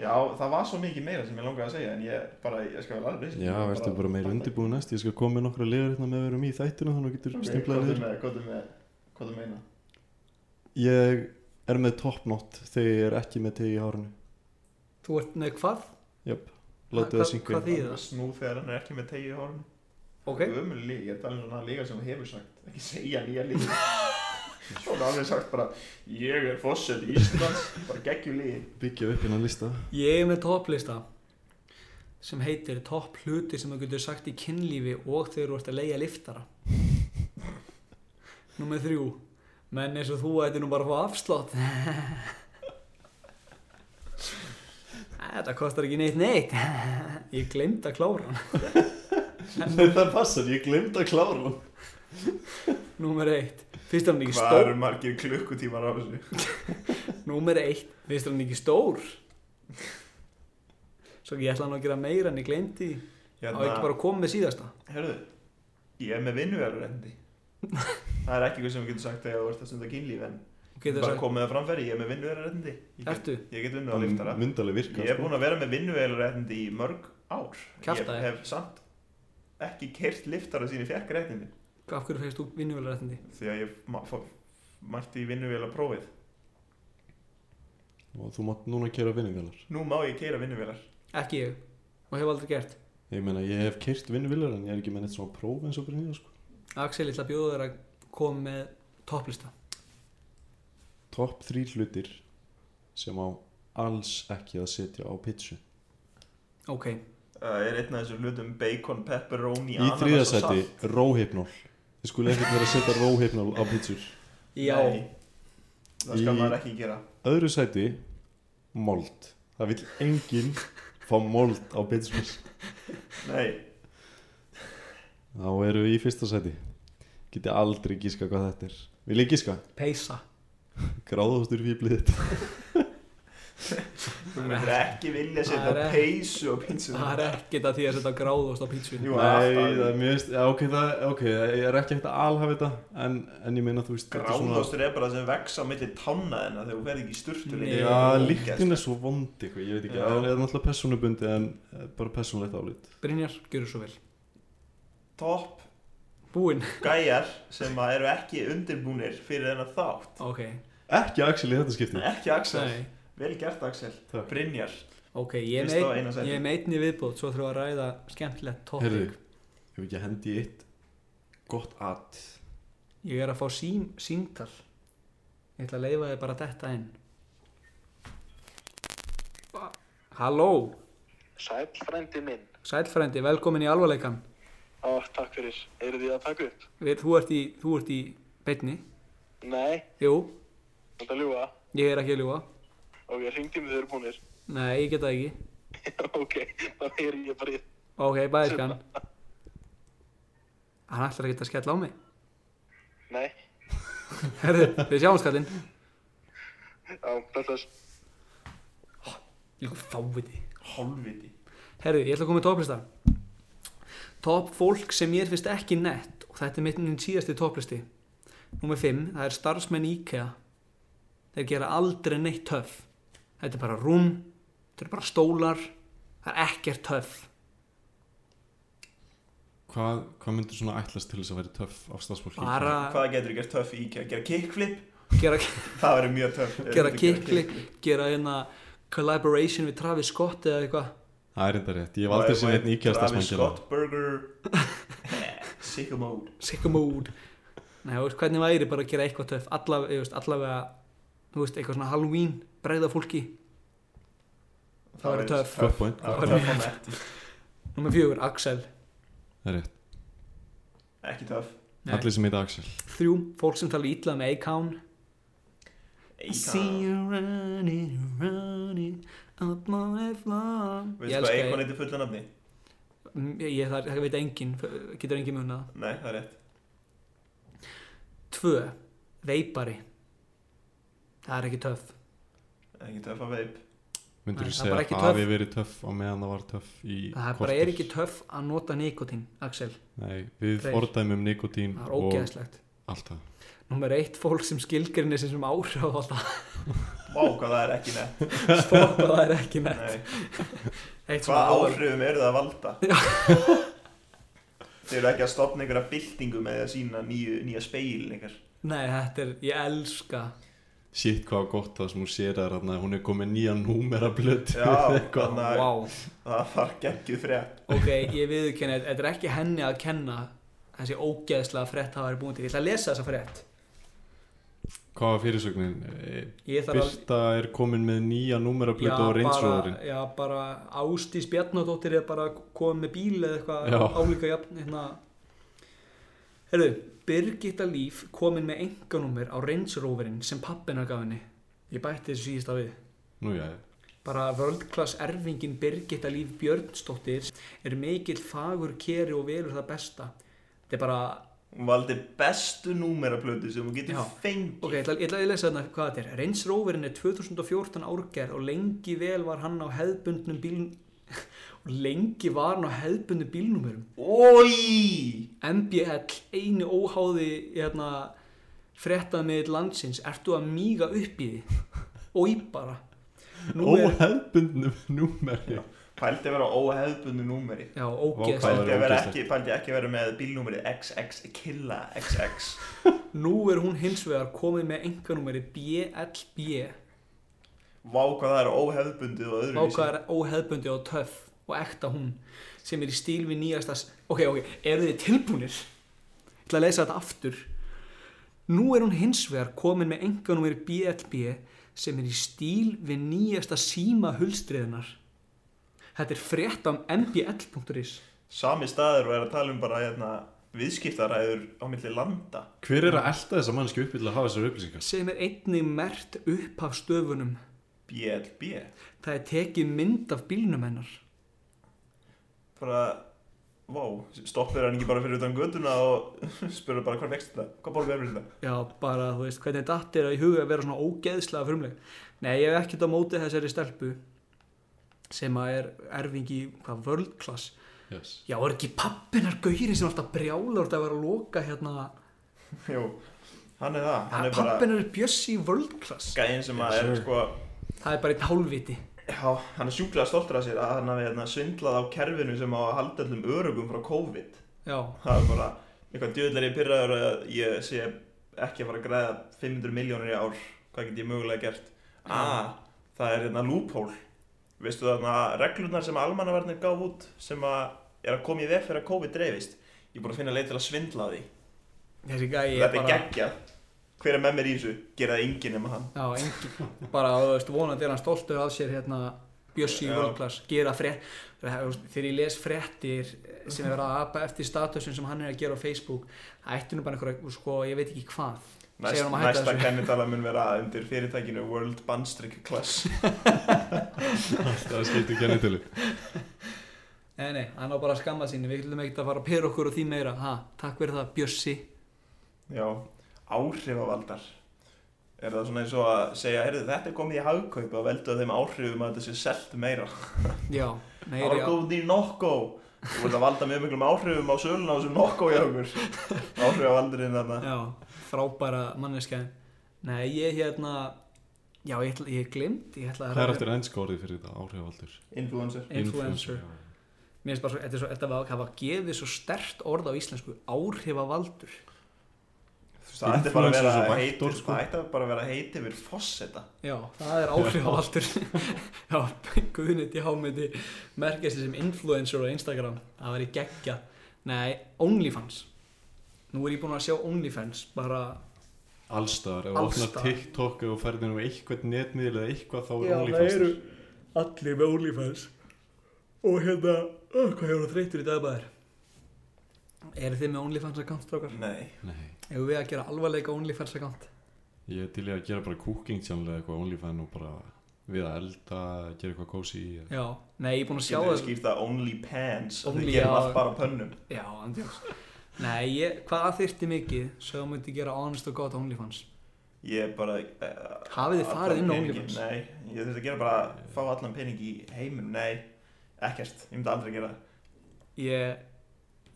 [SPEAKER 3] já það var svo mikið meira sem ég langaði að segja en ég bara, ég skal vel alveg um
[SPEAKER 4] Já, ertu bara meira undirbúin næst ég skal koma með nokkra liður hérna með verum í þættinu þannig að þú getur okay,
[SPEAKER 3] okay, hvað
[SPEAKER 4] stimplaði
[SPEAKER 3] er með, hvað er með, hvað er meina
[SPEAKER 4] ég er með topnot þegar ég er ekki með tegi í hárinu
[SPEAKER 8] Þú ert með hvað?
[SPEAKER 4] jöp,
[SPEAKER 8] Hvað-
[SPEAKER 4] látið það
[SPEAKER 8] hvað-
[SPEAKER 4] syngja
[SPEAKER 8] hvað þýðir það?
[SPEAKER 3] snú þegar hann er ekki með tegi í horn
[SPEAKER 8] Ok,
[SPEAKER 3] ömul líka, ég er talað um svona líka sem þú hefur sagt ekki segja nýja líka svona alveg sagt bara ég er fósett í Íslands, bara geggjur líka
[SPEAKER 4] byggja upp hérna lista
[SPEAKER 8] ég er með topplista sem heitir topp hluti sem þú getur sagt í kynlífi og þegar þú ert að leigja liftara Númer þrjú menn eins og þú ætti nú bara að fá afslátt Æ, Þetta kostar ekki neitt neitt Ég glemt að klára hann
[SPEAKER 4] það passar, ég glemt að klára hún
[SPEAKER 8] Númer eitt Fyrst er hann ekki
[SPEAKER 3] hvað
[SPEAKER 8] stór
[SPEAKER 3] eru margir klukkutímar á þessu
[SPEAKER 8] Númer eitt Fyrst er hann ekki stór Svo ekki, ég ætla hann að gera meira en ég glemti
[SPEAKER 3] Hérna-
[SPEAKER 8] Á ekki bara að koma með síðasta
[SPEAKER 3] herðu, ég er með vinnuvelurendi það er ekki eitthvað sem við getum sagt þegar þú ert að stunda kynlíf en
[SPEAKER 8] Þú getur
[SPEAKER 3] bara
[SPEAKER 8] sagt-
[SPEAKER 3] komið það framfæri, ég er með vinnuvelurendi ég, get-
[SPEAKER 8] Ertu?
[SPEAKER 3] ég get unnið á liftara
[SPEAKER 4] það myndalega virka sko.
[SPEAKER 3] ég er búin að vera með vinnuvelurendi í mörg ár
[SPEAKER 8] Kjaftaði.
[SPEAKER 3] ég hef samt ekki keirt liftara sín í fjarkaréttindi
[SPEAKER 8] Af hverju fegst þú vinnuvelarrættindi?
[SPEAKER 3] því að ég ma- fór mætti í vinnuvélaprófið
[SPEAKER 4] og þú mátt núna kera vinningalar
[SPEAKER 3] Nú má ég keira vinnuvélar.
[SPEAKER 8] Ekki ég og hef aldrei gert.
[SPEAKER 4] Ég meina, ég hef kert vinnuvillar en ég er ekki með neitt svona próf eins og Brynja, sko.
[SPEAKER 8] Axel, ég ætla að bjóða þér að koma með topplista.
[SPEAKER 4] Topp þrýr hlutir sem á alls ekki að setja á pitchu.
[SPEAKER 8] Ok,
[SPEAKER 3] Það er einn af þessum hlutum bacon, pepperoni,
[SPEAKER 4] Í þriðja sæti, róhypnól. Þið skulle ekkert vera að setja róhypnól á pitchur.
[SPEAKER 8] já,
[SPEAKER 3] Nei, það skal
[SPEAKER 4] Í-
[SPEAKER 3] maður ekki gera.
[SPEAKER 4] Öðru sæti, mold. Það vil enginn fá mold á pitchur.
[SPEAKER 3] Nei,
[SPEAKER 4] Þá eru við í fyrsta sæti. Geti aldrei gíska hvað þetta er. Vil ég gíska?
[SPEAKER 8] peysa.
[SPEAKER 4] Gráðastur fýblið þetta.
[SPEAKER 3] þú myndir ekki vilja
[SPEAKER 8] Það er
[SPEAKER 3] setja
[SPEAKER 8] ekki-
[SPEAKER 3] peysu á pinsuna.
[SPEAKER 8] Það er ekkert að því að setja gráðost á pítsunni.
[SPEAKER 3] Jú,
[SPEAKER 4] Nei,
[SPEAKER 3] alltaf.
[SPEAKER 4] það er mjög, veist, já, ok, það, ok, ég er ekki hægt að alhafa þetta, en, en ég meina, þú veist, þetta er svona-
[SPEAKER 3] Gráðostur er bara sem vex á milli tánna þennan þegar þú verð ekki í sturtu
[SPEAKER 8] Nei.
[SPEAKER 3] lengur. sko.
[SPEAKER 4] Já,
[SPEAKER 3] Þú
[SPEAKER 4] líktin
[SPEAKER 3] ógeðst.
[SPEAKER 4] er svo vondi eitthvað, ég veit ekki,
[SPEAKER 3] Já.
[SPEAKER 4] það er náttúrulega persónubundi en eh, bara persónulegt álit.
[SPEAKER 8] Brynjar, gjör svo vel.
[SPEAKER 3] Topp
[SPEAKER 8] Búinn.
[SPEAKER 3] gæjar sem að eru ekki undirbúnir fyrir þennan þátt.
[SPEAKER 8] Ok,
[SPEAKER 4] Ekki Axel í þetta skipti.
[SPEAKER 3] Ekki Axel.
[SPEAKER 8] nei.
[SPEAKER 3] Vel gert Axel.
[SPEAKER 4] Takk.
[SPEAKER 3] Brynjar.
[SPEAKER 8] Ok, ég
[SPEAKER 3] Fyrst á
[SPEAKER 8] er
[SPEAKER 3] eina
[SPEAKER 8] með
[SPEAKER 3] sæti.
[SPEAKER 8] ég er með einni viðbót, svo þurfum við að ræða skemmtilegt
[SPEAKER 4] Heyrðu,
[SPEAKER 8] topping.
[SPEAKER 4] ef ekki að hendi í eitt gott at.
[SPEAKER 8] Ég er að fá sín, síntal. Ég ætla að leifa þér bara þetta inn. Halló,
[SPEAKER 9] Sæll frændi minn.
[SPEAKER 8] sælfrændi, velkomin í alvarleikan.
[SPEAKER 9] Ó, takk fyrir. Eru þið að taka upp?
[SPEAKER 8] Við, þú, ert í, þú ert í beinni.
[SPEAKER 9] Nei,
[SPEAKER 8] Jú,
[SPEAKER 9] þetta ljúa.
[SPEAKER 8] ég er ekki að ljúa.
[SPEAKER 9] Ok, hringdi mig þegar búinir.
[SPEAKER 8] Nei, ég geta ekki.
[SPEAKER 9] ok, það er ég bara í.
[SPEAKER 8] Ok, bæðiskan. Hann ætlar ekki að skella á mig.
[SPEAKER 9] Nei,
[SPEAKER 8] Herðu, við sjáum skallinn.
[SPEAKER 9] já, blessast.
[SPEAKER 8] Líka fáviti.
[SPEAKER 3] Hálfviti
[SPEAKER 8] Herðu, ég ætla að koma í topplista. Top fólk sem ég finnst ekki nett og þetta er mitt minn síðasti topplisti. Númer 5, það er starfsmenn IKEA. Þeir gera aldrei neitt töff. Þetta er bara rúm, þetta er bara stólar, það er ekkert töff.
[SPEAKER 4] Hvað, hvað myndir svona ætlast til þess að vera töff af starfsfólki?
[SPEAKER 8] Bara
[SPEAKER 3] Hvað getur þú gert töff í IKEA? Gera kickflip?
[SPEAKER 8] gera,
[SPEAKER 3] Það verður mjög töff
[SPEAKER 8] gera kikli, gera hérna collaboration við Travis Scott eða eitthvað.
[SPEAKER 4] Það er enda rétt, ég hef aldrei séð einn íkjast að
[SPEAKER 3] Travis
[SPEAKER 4] smann gera
[SPEAKER 3] Scott Burger Sicko mode
[SPEAKER 8] Sicko mood. Nei, þú veist, hvernig væri bara að gera eitthvað töff, Alla, ég veist, allavega, þú veist, eitthvað svona Halloween, bregða fólki. Það verður töff.
[SPEAKER 4] Gott point,
[SPEAKER 3] Það verður töff og nett
[SPEAKER 8] Númer fjögur, Axel.
[SPEAKER 4] það er rétt
[SPEAKER 3] Ekki töff
[SPEAKER 8] Nei.
[SPEAKER 4] Allir sem heita Axel
[SPEAKER 8] Þrjú, fólk sem tala ítla með A-Cown. I see
[SPEAKER 3] Eikon
[SPEAKER 8] you running, running up my floor.
[SPEAKER 3] Veistu hvað
[SPEAKER 8] Ég elska
[SPEAKER 3] sko, Eikon
[SPEAKER 8] það.
[SPEAKER 3] heitir fulla nafni?
[SPEAKER 8] Ég, það, það veit enginn, f- getur enginn munið það.
[SPEAKER 3] Nei, það er rétt
[SPEAKER 8] Tvö, veipari. Það er ekki töff.
[SPEAKER 3] Ekki töff að veip
[SPEAKER 4] Myndir
[SPEAKER 8] Nei,
[SPEAKER 4] þú
[SPEAKER 8] það er bara
[SPEAKER 4] segja
[SPEAKER 8] ekki
[SPEAKER 4] að hafi
[SPEAKER 8] töff.
[SPEAKER 4] verið töff á meðan það var töff í
[SPEAKER 8] Það er bara er ekki töff að nota nikotín, Axel.
[SPEAKER 4] Nei, við
[SPEAKER 8] Freyr.
[SPEAKER 4] fordæmum nikotín
[SPEAKER 8] Það er
[SPEAKER 4] og
[SPEAKER 8] ógeðslegt.
[SPEAKER 4] allt það
[SPEAKER 8] Númer eitt, fólk sem skilgrinni sem sem áhrif á það.
[SPEAKER 3] Vá, hvað það er ekki nett
[SPEAKER 8] Fólk og það er ekki neitt.
[SPEAKER 3] Nei
[SPEAKER 8] Eitt svona
[SPEAKER 3] Hvað
[SPEAKER 8] áhrif.
[SPEAKER 3] áhrifum eru það að valda? Þeir eru ekki að stopna einhverja byltingu með því að sína nýju, nýja speil einhver.
[SPEAKER 8] Nei, þetta er, ég elska.
[SPEAKER 4] Sitt hvað gott það sem hún sér að hérna, hún er komið nýja númera blötu
[SPEAKER 3] Já, þannig að
[SPEAKER 8] Wow.
[SPEAKER 3] það var geggjuð frétt.
[SPEAKER 8] Ok, ég viðurkenni að þetta er ekki henni að kenna þessi ógeðslega frett hafa verið búin til. Ég ætla að lesa þessa frett.
[SPEAKER 4] Hvað var fyrirsögnin? Eh,
[SPEAKER 8] Ég þarf að...
[SPEAKER 4] Birta er komin með nýja númera
[SPEAKER 8] Já,
[SPEAKER 4] blötu á
[SPEAKER 8] bara,
[SPEAKER 4] reynsóðurinn
[SPEAKER 8] já, bara Ástís Bjarnadóttir er bara komið með bíl eða eitthvað
[SPEAKER 4] Já.
[SPEAKER 8] álíka jafn, hérna. Herðu, Birgitta Líf komin með enganúmer á Range Roverinn sem pappina gaf henni. Ég bætti þessu síðasta við.
[SPEAKER 4] Nú já,
[SPEAKER 8] Bara völdklass erfingin Birgitta Líf Björnsdóttir er mikill fagur keri og velur það besta. Þetta er bara
[SPEAKER 3] Hún valdi bestu númeraplötu sem hún getur
[SPEAKER 8] Já.
[SPEAKER 3] fengið.
[SPEAKER 8] Ok, ég ætla, ég ætla að lesa þarna hvað þetta er. Range Roverinn er 2014 árgerð og lengi vel var hann á hefðbundnum bíl... og lengi var hann á hefðbundnum bílnúmerum.
[SPEAKER 3] Ói!
[SPEAKER 8] MBL, einu óháði hérna, frettað með landsins. Ertu að míga upp í því? Ói bara. Nú er...
[SPEAKER 4] óhefbundnum númeri
[SPEAKER 3] Pældi að vera á óhefðbundu númeri.
[SPEAKER 8] Já,
[SPEAKER 4] Vá, hvað er-
[SPEAKER 8] ógeðs.
[SPEAKER 3] Pældi að vera
[SPEAKER 4] ógeðslegt.
[SPEAKER 3] ekki, pældi ekki að vera með bílnúmerið XX Killa XX.
[SPEAKER 8] Nú er hún hins vegar komið með enganúmeri BLB.
[SPEAKER 3] Vá hvað það er óhefðbundið og öðru
[SPEAKER 8] Váka er óhefðbundi og töff og ekta hún sem er í stíl við nýjasta s- Ok, ok, eru þið tilbúnir? Ég ætla að lesa þetta aftur Nú er hún hins vegar komin með enganúmer BLB sem er í stíl við nýjasta síma hulstriðunar Þetta er frétt á mbl.is
[SPEAKER 3] Sami staður og er að tala um bara hérna, viðskiptaræður á milli landa.
[SPEAKER 4] Hver er að elda þessa mannsku upp til að hafa þessar upplýsingar?
[SPEAKER 8] sem er einnig mert upp af stöfunum
[SPEAKER 3] BLB.
[SPEAKER 8] Það er tekið mynd af bílnum hennar
[SPEAKER 3] bara Vá, stoppir hann ekki bara fyrir utan göduna og spurur bara hvað vexti þetta, hvað borgar verður þetta?
[SPEAKER 8] Já, bara, þú veist, hvernig datt er að í huga að vera svona ógeðslega frumleg. Nei, ég hef ekkert á móti þessari stelpu sem að er erfingi, í, hvað, world class.
[SPEAKER 4] Yes.
[SPEAKER 8] Já, er ekki pappinar gaurin sem er alltaf brjálar þetta að vera að loka hérna.
[SPEAKER 3] Jú, hann er það, hann
[SPEAKER 8] Ja,
[SPEAKER 3] er bara
[SPEAKER 8] pappinar er bjössi í world class.
[SPEAKER 3] gæinn sem að er
[SPEAKER 4] Sure.
[SPEAKER 3] sko,
[SPEAKER 8] Það er bara einn hálfviti.
[SPEAKER 3] já, hann er sjúklega stoltur af sér að hann hafi hérna, svindlað á kerfinu sem á að halda allum örugum frá COVID.
[SPEAKER 8] Já,
[SPEAKER 3] Það er bara, eitthvað djöðlega ég pyrraður að ég sé ekki að fara að græða 500 miljónir í ár, hvað get ég mögulega gert? Ah, það er hérna loophole. Veistu þarna reglurnar sem almannavarnir gaf út sem að er að koma í veg fyrir að COVID dreifist. Ég er búin að finna leið til að svindla á því.
[SPEAKER 8] þessi gæi er
[SPEAKER 3] Þetta er
[SPEAKER 8] bara...
[SPEAKER 3] geggjað. Hver er með mér í þessu? Gera það enginn nema hann.
[SPEAKER 8] Já, engin. Bara, þú veist, vonandi er hann stoltur af sér hérna Bjössi í
[SPEAKER 3] Já.
[SPEAKER 8] vörðklass, gera frétt þegar ég les fréttir sem er verið að apa eftir statusin sem hann er að gera á Facebook, það ætti nú bara einhverja sko, ég veit ekki hvað
[SPEAKER 3] Næst,
[SPEAKER 8] Segir honum að hætta
[SPEAKER 3] næsta
[SPEAKER 8] þessu.
[SPEAKER 3] kennitala mun vera undir fyrirtækinu World Bandstrik Class
[SPEAKER 4] það skiptir kennitölu
[SPEAKER 8] Nei, nei, hann á bara að skamma sín við ætlum ekkert að fara að pera okkur og því meira ha, takk fyrir það, Bjössi
[SPEAKER 3] Já, áhrifavaldar Er það svona eins og að segja heyrðu, þetta er komið í hagkaup að veldu að þeim áhrifum að þetta sé selt meira
[SPEAKER 8] Já,
[SPEAKER 3] Það var
[SPEAKER 8] meiri,
[SPEAKER 3] góð í Nokko Þú voru að valda mjög miklum áhrifum á söluna á þessum Nokko hjá okkur Áhrifavaldurinn þarna
[SPEAKER 8] já, frábæra manneskja Nei, ég hérna já, ég, ætla- ég glimt ég ætla að
[SPEAKER 4] það er eftir ennskórið fyrir þetta áhrifaldur
[SPEAKER 3] Influencer
[SPEAKER 8] influencer Mér finnst bara svo, þetta er svo, þetta var, það var gefið svo stert orð á íslensku, áhrifavaldur.
[SPEAKER 3] Þú veist, Það ætti bara að vera
[SPEAKER 4] Influencer er svo vægt
[SPEAKER 3] heiti
[SPEAKER 4] orð, sko.
[SPEAKER 3] Það ætti bara að vera heiti fyrir fosseta
[SPEAKER 8] Já, það er áhrifavaldur. Já, guðnit í hámyndi, merkjast sem influencer á Instagram, það væri geggja. Nei, OnlyFans. Nú er ég búinn að sjá OnlyFans, bara,
[SPEAKER 4] allstaðar, ef þú opnar
[SPEAKER 8] Allstaðar.
[SPEAKER 4] TikTok og ferðir um eitthvað netmiðl eða eitthvað þá er
[SPEAKER 8] Já, það
[SPEAKER 4] OnlyFans
[SPEAKER 8] eru
[SPEAKER 4] þar.
[SPEAKER 8] allir með OnlyFans. Og hérna, oh, hvað hefur það þreytur í dag maður? Eru þið með OnlyFans account, strákar?
[SPEAKER 3] Nei
[SPEAKER 4] nei,
[SPEAKER 8] Hefur við að gera alvarleika OnlyFans account?
[SPEAKER 4] ég er til í að gera bara cooking channel eða eitthvað á OnlyFans og bara við að elda, gera eitthvað kósi
[SPEAKER 8] Já, nei, ég er búinn að sjá
[SPEAKER 3] Getur
[SPEAKER 8] það. sko.
[SPEAKER 3] við skýrt það only pants Only,
[SPEAKER 8] Only,
[SPEAKER 3] Þið gerum
[SPEAKER 8] já.
[SPEAKER 3] allt bara á pönnum
[SPEAKER 8] Já, andjóks Nei, ég, hvað þyrfti mikið svo að myndi gera honest og gott OnlyFans
[SPEAKER 3] Ég er bara uh,
[SPEAKER 8] Hafið þið farið inn á OnlyFans?
[SPEAKER 3] Nei, ég þurfti að gera bara Fá allan pening í heiminum Nei, ekkert, ég myndi aldrei gera það
[SPEAKER 8] Ég,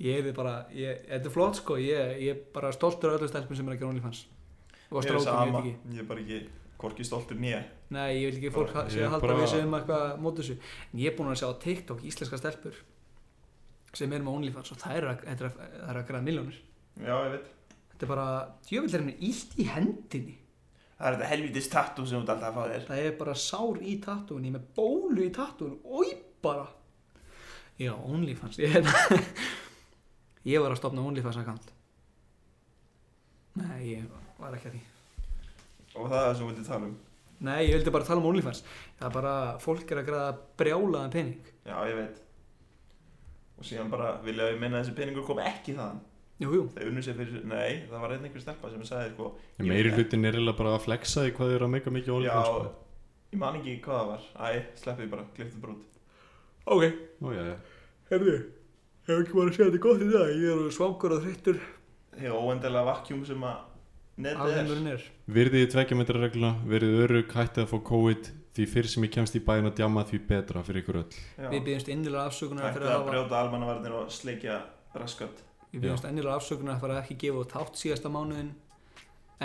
[SPEAKER 8] ég er bara, ég, þetta er flott sko Ég, ég er bara stoltur af öllu stelpum sem er að gera OnlyFans Og
[SPEAKER 3] Mér er
[SPEAKER 8] strákum, ég veit ekki
[SPEAKER 3] Ég er bara ekki Hvorki stoltur nýja
[SPEAKER 8] Nei, ég vil ekki að fólk
[SPEAKER 4] Bara-
[SPEAKER 8] sé
[SPEAKER 4] ég
[SPEAKER 8] að halda
[SPEAKER 4] bara-
[SPEAKER 8] við sem eitthvað á móti þessu En ég er búinn að sjá á TikTok íslenska stelpur sem er með OnlyFans og það er að, það er að, það er að græða miljónir
[SPEAKER 3] Já, ég veit
[SPEAKER 8] Þetta er bara, djöfill er henni illt í hendinni
[SPEAKER 3] Það er þetta helvitis tattoo sem þú ert alltaf að fá þér
[SPEAKER 8] Það er bara sár í tattúinni, með bólu í tattúinni, oi bara. Já, OnlyFans, ég, hérna, ég var að stopna OnlyFans account. Nei, ég var ekki að því.
[SPEAKER 3] Og það er það sem við vildum tala um
[SPEAKER 8] Nei, ég vildi bara tala um OnlyFans. Það er bara, fólk er að græða brjálaðan pening.
[SPEAKER 3] Já, ég veit Og síðan bara vilja ég minna að þessi peningur kom ekki þaðan
[SPEAKER 8] Jú, jú,
[SPEAKER 3] Þeir unnu sér fyrir Nei, það var einn einhver stelpa sem sagði sko
[SPEAKER 4] ég meiri hlutin er eiginlega bara að flexa í hvað þau eru að meika mikið á
[SPEAKER 3] Já,
[SPEAKER 4] OnlyFans sko.
[SPEAKER 3] ég man ekki hvað það var Æ, sleppið bara, klipptu bara út
[SPEAKER 8] ok,
[SPEAKER 4] Ó, já, já.
[SPEAKER 8] herðu, hefur ekki bara að segja þetta gott í dag. Ég er svangur og þreyttur,
[SPEAKER 3] Hefur óendalega vakjum sem að Netið er
[SPEAKER 8] alheimurinn er.
[SPEAKER 4] Virðið í tveggjametrarregluna, verið örug, hættið að fá COVID, því fyrir sem ég kemst í bæin að djama því betra fyrir ykkur öll.
[SPEAKER 3] Já.
[SPEAKER 8] Við byggjumst innilega afsökunar
[SPEAKER 3] Ætti
[SPEAKER 8] fyrir að
[SPEAKER 3] að
[SPEAKER 8] hafa,
[SPEAKER 3] brjóta almannavarnir og sleikja raskat
[SPEAKER 8] við byggjumst innilega afsökunar fyrir að ekki gefa út þátt síðasta mánuðin.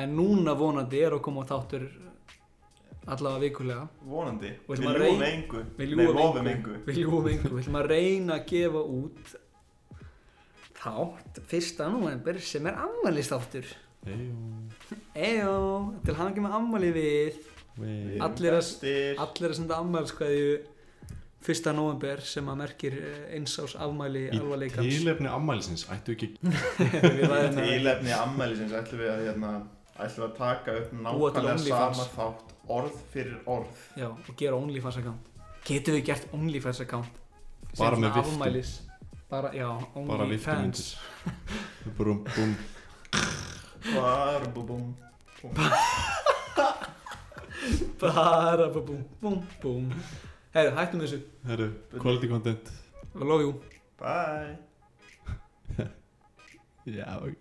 [SPEAKER 8] En núna vonandi er að koma á þáttur allavega vikulega.
[SPEAKER 3] Vonandi,
[SPEAKER 8] Og
[SPEAKER 3] við
[SPEAKER 8] ætlum að
[SPEAKER 3] ljúum
[SPEAKER 8] rey-
[SPEAKER 3] engu
[SPEAKER 8] Við
[SPEAKER 3] Nei,
[SPEAKER 8] ljúum
[SPEAKER 3] lofum
[SPEAKER 8] engu.
[SPEAKER 3] engu
[SPEAKER 8] Við ljúum engu. Við ætlum að reyna að gefa út þátt fyrsta november sem er afmælistáttur.
[SPEAKER 4] Eyjó,
[SPEAKER 8] Ejó, til hann ekki með afmæli við.
[SPEAKER 4] vei.
[SPEAKER 3] Við erum
[SPEAKER 8] Allir að-
[SPEAKER 3] bestir.
[SPEAKER 8] Allir að senda afmælskvæðju fyrsta november sem að merkir eh, eins ás afmæli
[SPEAKER 4] Í
[SPEAKER 8] alvarleikans.
[SPEAKER 4] tilefni ammælisins, ættu ekki
[SPEAKER 8] Við
[SPEAKER 3] Í
[SPEAKER 8] ræðum það.
[SPEAKER 3] tilefni ammælisins ætlum við að hérna, ætlum við að taka upp
[SPEAKER 8] Búa til
[SPEAKER 3] nákvæmlega
[SPEAKER 8] OnlyFans.
[SPEAKER 3] sama þátt orð fyrir orð
[SPEAKER 8] Já, og gera OnlyFans account. Getum við gert OnlyFans account? Sem
[SPEAKER 4] Bara
[SPEAKER 8] svona
[SPEAKER 4] með viftum.
[SPEAKER 8] Afmælis. Bara, já,
[SPEAKER 4] bara viftumundir.
[SPEAKER 8] OnlyFans.
[SPEAKER 4] Brum, brum.
[SPEAKER 3] Var, bú, bú, bú.
[SPEAKER 8] Bara búm, búm, búm. Herru, hættum þessu.
[SPEAKER 4] Herru, quality content.
[SPEAKER 8] I love you.
[SPEAKER 3] Bye
[SPEAKER 4] Já, ok.